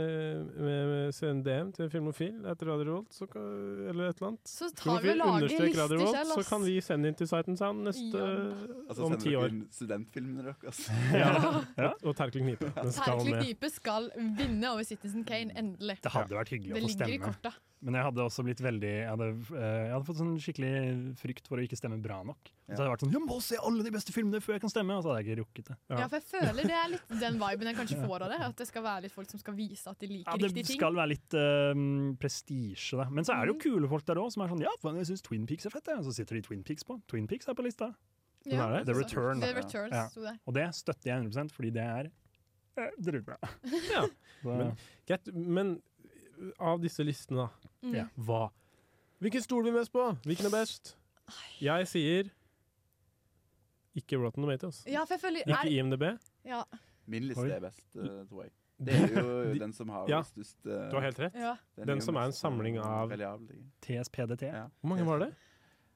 [SPEAKER 7] med, med, sende DM til Filmofil etter Radio Revolt, så, kan- eller et eller annet.
[SPEAKER 8] Så tar vi og
[SPEAKER 7] Filmofil
[SPEAKER 8] lager
[SPEAKER 7] understrek
[SPEAKER 8] lister
[SPEAKER 7] Radio Revolt,
[SPEAKER 8] selv,
[SPEAKER 7] Så
[SPEAKER 8] ass.
[SPEAKER 7] kan vi sende inn til Sight and Sound neste,
[SPEAKER 6] Altså,
[SPEAKER 7] om
[SPEAKER 6] sender
[SPEAKER 7] ti
[SPEAKER 6] dere
[SPEAKER 7] år.
[SPEAKER 6] inn studentfilmene deres.
[SPEAKER 7] Ja. Og Terkel Knipe. Den skal
[SPEAKER 8] Terkel
[SPEAKER 7] med.
[SPEAKER 8] Knipe skal vinne over Citizen Kane, endelig.
[SPEAKER 4] Det hadde vært hyggelig
[SPEAKER 8] Det
[SPEAKER 4] å få
[SPEAKER 8] ligger i
[SPEAKER 4] stemme.
[SPEAKER 8] korta.
[SPEAKER 4] Men jeg hadde også blitt veldig Jeg hadde, eh, jeg hadde fått sånn skikkelig frykt for å ikke stemme bra nok. Så
[SPEAKER 2] Ja.
[SPEAKER 4] hadde jeg vært sånn Jeg må se alle de beste filmene før jeg kan stemme! Og så hadde jeg ikke rukket det.
[SPEAKER 8] Ja, for jeg føler det er litt den viben jeg kanskje får av det. At det skal være litt folk som skal vise at de liker
[SPEAKER 4] Ja, det
[SPEAKER 8] riktige ting. Mm.
[SPEAKER 4] skal være litt eh, prestisje, da. Men så er det jo kule folk der òg, som er sånn Ja, faen, jeg syns Twin Peaks er fett, jeg. Og så sitter de Twin Peaks på. Twin Peaks er på lista.
[SPEAKER 8] Ja,
[SPEAKER 4] Hva er det? The
[SPEAKER 8] så-
[SPEAKER 4] Return.
[SPEAKER 8] The Returns sto der.
[SPEAKER 4] Og det støtter jeg 100 fordi det er eh, dritbra.
[SPEAKER 7] Ja.
[SPEAKER 4] Så-
[SPEAKER 7] Men, greit, men av disse listene, da,
[SPEAKER 8] Mm. Ja.
[SPEAKER 7] hva Hvilken stol vi mest på? Hvilken er best? Jeg sier ikke Rotten Tomatoes.
[SPEAKER 8] Ja, for jeg føler
[SPEAKER 7] Ikke
[SPEAKER 8] er,
[SPEAKER 7] IMDb.
[SPEAKER 8] ja.
[SPEAKER 6] Min liste
[SPEAKER 7] Oi.
[SPEAKER 6] er best, eh, tror jeg. Det er jo
[SPEAKER 7] De-
[SPEAKER 6] den som har
[SPEAKER 7] Ja,
[SPEAKER 6] størst eh,
[SPEAKER 7] du har helt rett.
[SPEAKER 8] Ja.
[SPEAKER 7] Den, som er en samling av
[SPEAKER 4] TSPDT.
[SPEAKER 7] Hvor mange var det?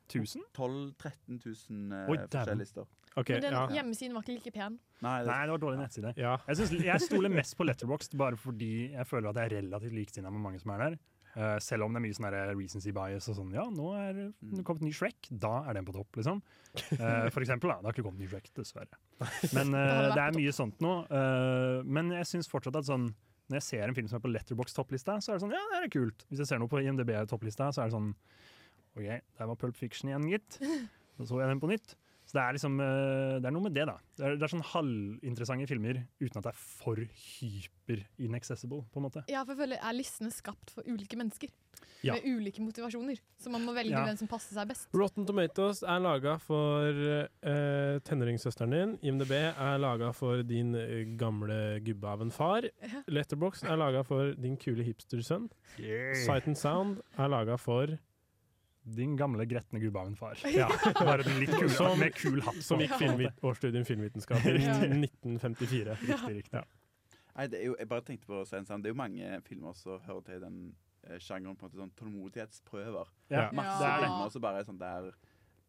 [SPEAKER 4] 1000?
[SPEAKER 6] 12 000-13 000 eh,
[SPEAKER 4] Oi, dæven.
[SPEAKER 6] forskjellige lister.
[SPEAKER 7] Ok,
[SPEAKER 8] Men den
[SPEAKER 4] ja.
[SPEAKER 8] hjemmesiden var ikke like pen.
[SPEAKER 6] Nei, det,
[SPEAKER 4] Nei, det var dårlig nettside.
[SPEAKER 7] Ja.
[SPEAKER 4] Jeg, synes, jeg stoler mest på Letterboxd bare fordi jeg føler at jeg er relativt liksinna med mange som er der. Eh, selv om det er mye sånn der recency bias og sånn Ja, nå er det kommet ny Shrek, da er den på topp, liksom. Eh, for eksempel, da. Det har ikke kommet ny Shrek, dessverre. Men eh,
[SPEAKER 2] Da hadde det vært
[SPEAKER 4] det
[SPEAKER 2] på
[SPEAKER 4] er mye sånt nå. Eh, men jeg syns fortsatt at sånn når jeg ser en film som er på Letterboxd-topplista, så er det sånn Ja, det er kult. Hvis jeg ser noe på IMDb-topplista, så er det sånn OK, der var Pulp Fiction igjen, gitt. Så så jeg den på nytt. Så det er liksom eh, Det er noe med det, da. Det er, det er sånn halvinteressante filmer uten at det er for hyper-inaccessible, på en måte.
[SPEAKER 8] Ja, for jeg føler er listene skapt for ulike mennesker.
[SPEAKER 4] Ja.
[SPEAKER 8] Med ulike motivasjoner. Så man må velge
[SPEAKER 7] Ja.
[SPEAKER 8] den som passer seg best.
[SPEAKER 7] Rotten Tomatoes er laga for eh, tenåringssøsteren din. IMDb er laga for din eh, gamle gubbe av en far.
[SPEAKER 8] Ja.
[SPEAKER 7] Letterbox er laga for din kule hipstersønn. Sight and Sound er laga for
[SPEAKER 4] Din gamle gretne gubbe av en far.
[SPEAKER 7] Ja.
[SPEAKER 4] Bare den litt kule,
[SPEAKER 7] Som-
[SPEAKER 4] med kul hatt. på,
[SPEAKER 7] Som gikk
[SPEAKER 4] på en
[SPEAKER 7] filmvit
[SPEAKER 4] måte.
[SPEAKER 7] årsstudium filmvitenskap i
[SPEAKER 4] Ja.
[SPEAKER 7] 1954.
[SPEAKER 4] Riktig, riktig.
[SPEAKER 6] Nei, det er jo, jeg bare tenkte på å si en sånn, Det er jo mange filmer som hører til den eh, sjangeren på en måte sånn tålmodighetsprøver.
[SPEAKER 4] Ja. Ja.
[SPEAKER 6] Masse
[SPEAKER 4] Det er det.
[SPEAKER 6] filmer som bare er sånn der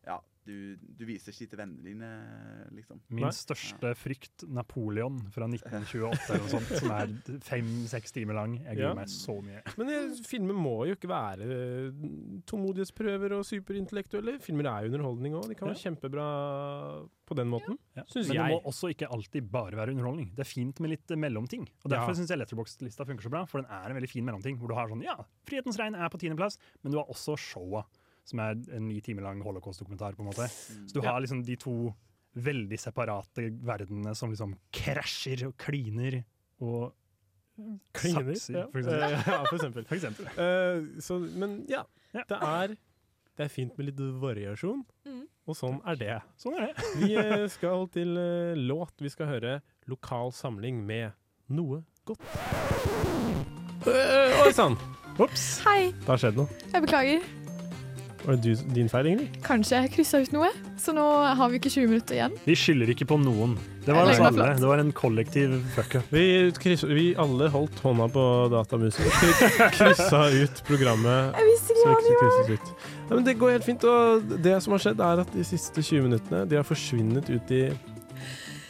[SPEAKER 6] Ja, du, du viser ikke til vennene dine, liksom.
[SPEAKER 4] Min største frykt, Napoleon fra 1928 eller noe sånt, som er fem-seks timer lang. Jeg
[SPEAKER 7] Ja.
[SPEAKER 4] gruer meg så mye.
[SPEAKER 7] Men eh, filmer må jo ikke være eh, tålmodighetsprøver og superintellektuelle. Filmer er jo underholdning òg. De kan være kjempebra på den måten, syns
[SPEAKER 4] Men
[SPEAKER 7] jeg.
[SPEAKER 4] det må også ikke alltid bare være underholdning. Det er fint med litt eh, mellomting. Og Derfor
[SPEAKER 7] Ja.
[SPEAKER 4] synes syns jeg Letterboxd-lista funker så bra, for den er en veldig fin mellomting. Hvor du har sånn, ja, Frihetens regn er på tiendeplass, men du har også showa, som er en ni timer lang holocaust-dokumentar. på en måte. Så du
[SPEAKER 2] Ja.
[SPEAKER 4] har liksom de to veldig separate verdenene som liksom krasjer og kliner og
[SPEAKER 7] Klingende,
[SPEAKER 4] sakser,
[SPEAKER 7] ja.
[SPEAKER 4] for eksempel.
[SPEAKER 7] Eh, ja, for eksempel.
[SPEAKER 4] For eksempel.
[SPEAKER 7] Eh, så, men ja, det er, det er fint med litt variasjon,
[SPEAKER 8] Mm.
[SPEAKER 7] og sånn er det.
[SPEAKER 4] Sånn er det.
[SPEAKER 7] Vi eh, skal til eh, låt. Vi skal høre 'Lokal samling' med Noe godt. Eh, Oi sann! Ops.
[SPEAKER 8] Hei,
[SPEAKER 7] Det har skjedd noe.
[SPEAKER 8] jeg beklager.
[SPEAKER 7] Var det du, din feil, Ingrid?
[SPEAKER 8] Kanskje jeg kryssa ut noe, så nå har vi ikke 20 minutter igjen.
[SPEAKER 4] Vi skylder ikke på noen. Det var
[SPEAKER 8] Jeg
[SPEAKER 4] oss
[SPEAKER 8] legger meg
[SPEAKER 4] alle.
[SPEAKER 8] flat.
[SPEAKER 4] Det var en kollektiv fuckup.
[SPEAKER 7] Vi, kryss, vi alle holdt hånda på datamusen. Kry- Kryssa ut programmet.
[SPEAKER 8] Jeg visste ikke
[SPEAKER 7] som
[SPEAKER 8] hva det
[SPEAKER 7] krysses ut. Ja, men det går helt fint. Og det som har skjedd, er at de siste 20 minuttene de har forsvunnet ut i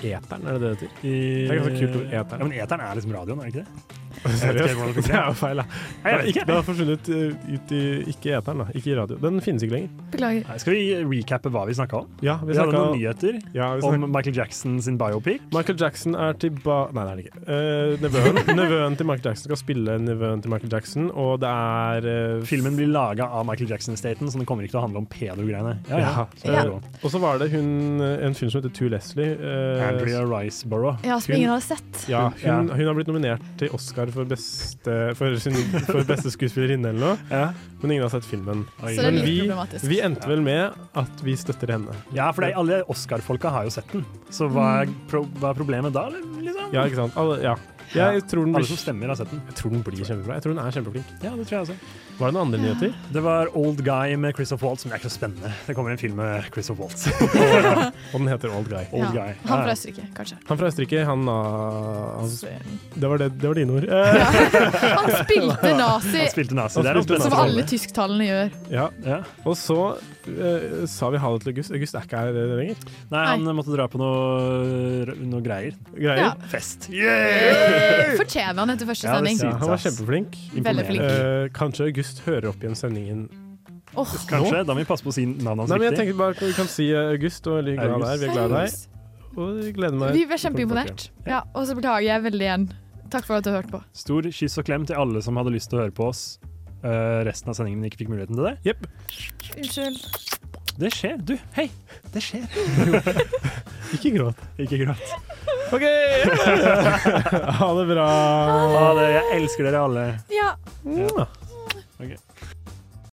[SPEAKER 7] eteren, er det det det heter? Det er ganske kult ord. Eteren.
[SPEAKER 4] Ja, men eteren er liksom radioen, er det ikke det? Jeg vet ikke helt hvordan
[SPEAKER 7] Seriøst? Det
[SPEAKER 4] det
[SPEAKER 7] er jo
[SPEAKER 4] fungerer.
[SPEAKER 7] feil, da.
[SPEAKER 4] Nei, jeg vet
[SPEAKER 7] Ikke,
[SPEAKER 4] ikke.
[SPEAKER 7] det har forsvunnet eh, ut i ikke i eteren, da. Ikke i radio. Den finnes ikke lenger.
[SPEAKER 8] Beklager.
[SPEAKER 4] Nei, Skal vi recappe hva vi snakka om?
[SPEAKER 7] Ja, vi
[SPEAKER 4] vi hadde
[SPEAKER 7] snakket-
[SPEAKER 4] noen nyheter
[SPEAKER 7] Ja, vi
[SPEAKER 4] om
[SPEAKER 7] snakket-
[SPEAKER 4] Michael Jackson sin biopic.
[SPEAKER 7] Michael Jackson er tilbake Nei, det er det ikke. Eh, nevøen, nevøen til Michael Jackson skal spille nevøen til Michael Jackson, og det er eh,
[SPEAKER 4] Filmen blir laga av Michael Jackson-staten, så den kommer ikke til å handle om pedo-greiene. Ja, ja.
[SPEAKER 7] så- Og så var det hun, eh, en film som heter Two Leslie. eh,
[SPEAKER 4] Andrea Riceborough.
[SPEAKER 8] Ja, som ingen har sett.
[SPEAKER 7] Ja, hun,
[SPEAKER 4] Ja.
[SPEAKER 7] hun har blitt nominert til Oscar for beste, for sin, for beste skuespillerinne eller noe, men ingen har sett filmen.
[SPEAKER 8] Så det er
[SPEAKER 7] Men
[SPEAKER 8] litt
[SPEAKER 7] vi,
[SPEAKER 8] problematisk.
[SPEAKER 7] vi endte vel med at vi støtter henne.
[SPEAKER 4] Ja, for det, er- alle Oscar-folka har jo sett den, så hva er,
[SPEAKER 8] Mm.
[SPEAKER 4] pro hva er problemet da? eller? Liksom?
[SPEAKER 7] Ja, ikke sant? Alle, ja. Jeg tror den blir,
[SPEAKER 4] Alle som stemmer, har sett den.
[SPEAKER 7] Jeg tror den blir kjempebra. Jeg tror den er kjempeflink.
[SPEAKER 4] Mm. Ja, det tror jeg også.
[SPEAKER 7] Var det noen andre nyheter?
[SPEAKER 4] Det var Old Guy med Christoph Waltz, men det er ikke så spennende. Det kommer en film med Christoph Waltz.
[SPEAKER 7] Og den heter Old Guy.
[SPEAKER 4] Old
[SPEAKER 8] Ja,
[SPEAKER 4] Guy.
[SPEAKER 8] han fra Østerrike, kanskje.
[SPEAKER 7] Han fra Østerrike, han ah, han- Det var, det, det var dine ord. Eh,
[SPEAKER 8] Han spilte nazi,
[SPEAKER 7] Han spilte nazi. Det er
[SPEAKER 8] som
[SPEAKER 7] hans beste
[SPEAKER 8] alle
[SPEAKER 7] rolle.
[SPEAKER 8] tysktalene gjør.
[SPEAKER 7] Ja. Og så eh, sa vi ha det til August. August er ikke her eh, lenger.
[SPEAKER 4] Nei, han måtte dra på noe, noe greier.
[SPEAKER 7] Greier?
[SPEAKER 8] Ja.
[SPEAKER 4] Fest.
[SPEAKER 8] Fortjener han etter første sending.
[SPEAKER 7] Ja, han var kjempeflink.
[SPEAKER 8] Veldig flink.
[SPEAKER 7] Eh, kanskje August hører opp igjen sendingen.
[SPEAKER 8] Åh.
[SPEAKER 4] Kanskje. Da må vi passe på å si navnet hans
[SPEAKER 7] Nei, men jeg
[SPEAKER 4] riktig.
[SPEAKER 7] tenker bare Vi kan si eh, August, og er veldig glad der. Vi er
[SPEAKER 4] August.
[SPEAKER 7] glad i deg.
[SPEAKER 8] August.
[SPEAKER 7] Og jeg gleder meg
[SPEAKER 8] Vi ble kjempeimponert. Ja, og så beklager jeg veldig igjen. Takk for at du hørte på.
[SPEAKER 4] Stor kyss og klem til alle som hadde lyst til å høre på oss. Eh, eh, resten av sendingen ikke fikk muligheten til det.
[SPEAKER 8] Unnskyld.
[SPEAKER 4] Det skjer. Du, hei! Det skjer.
[SPEAKER 7] ikke gråt.
[SPEAKER 4] Ikke gråt.
[SPEAKER 7] OK! ha det bra.
[SPEAKER 4] Ha det. Jeg elsker dere alle.
[SPEAKER 8] Ja.
[SPEAKER 7] Ja.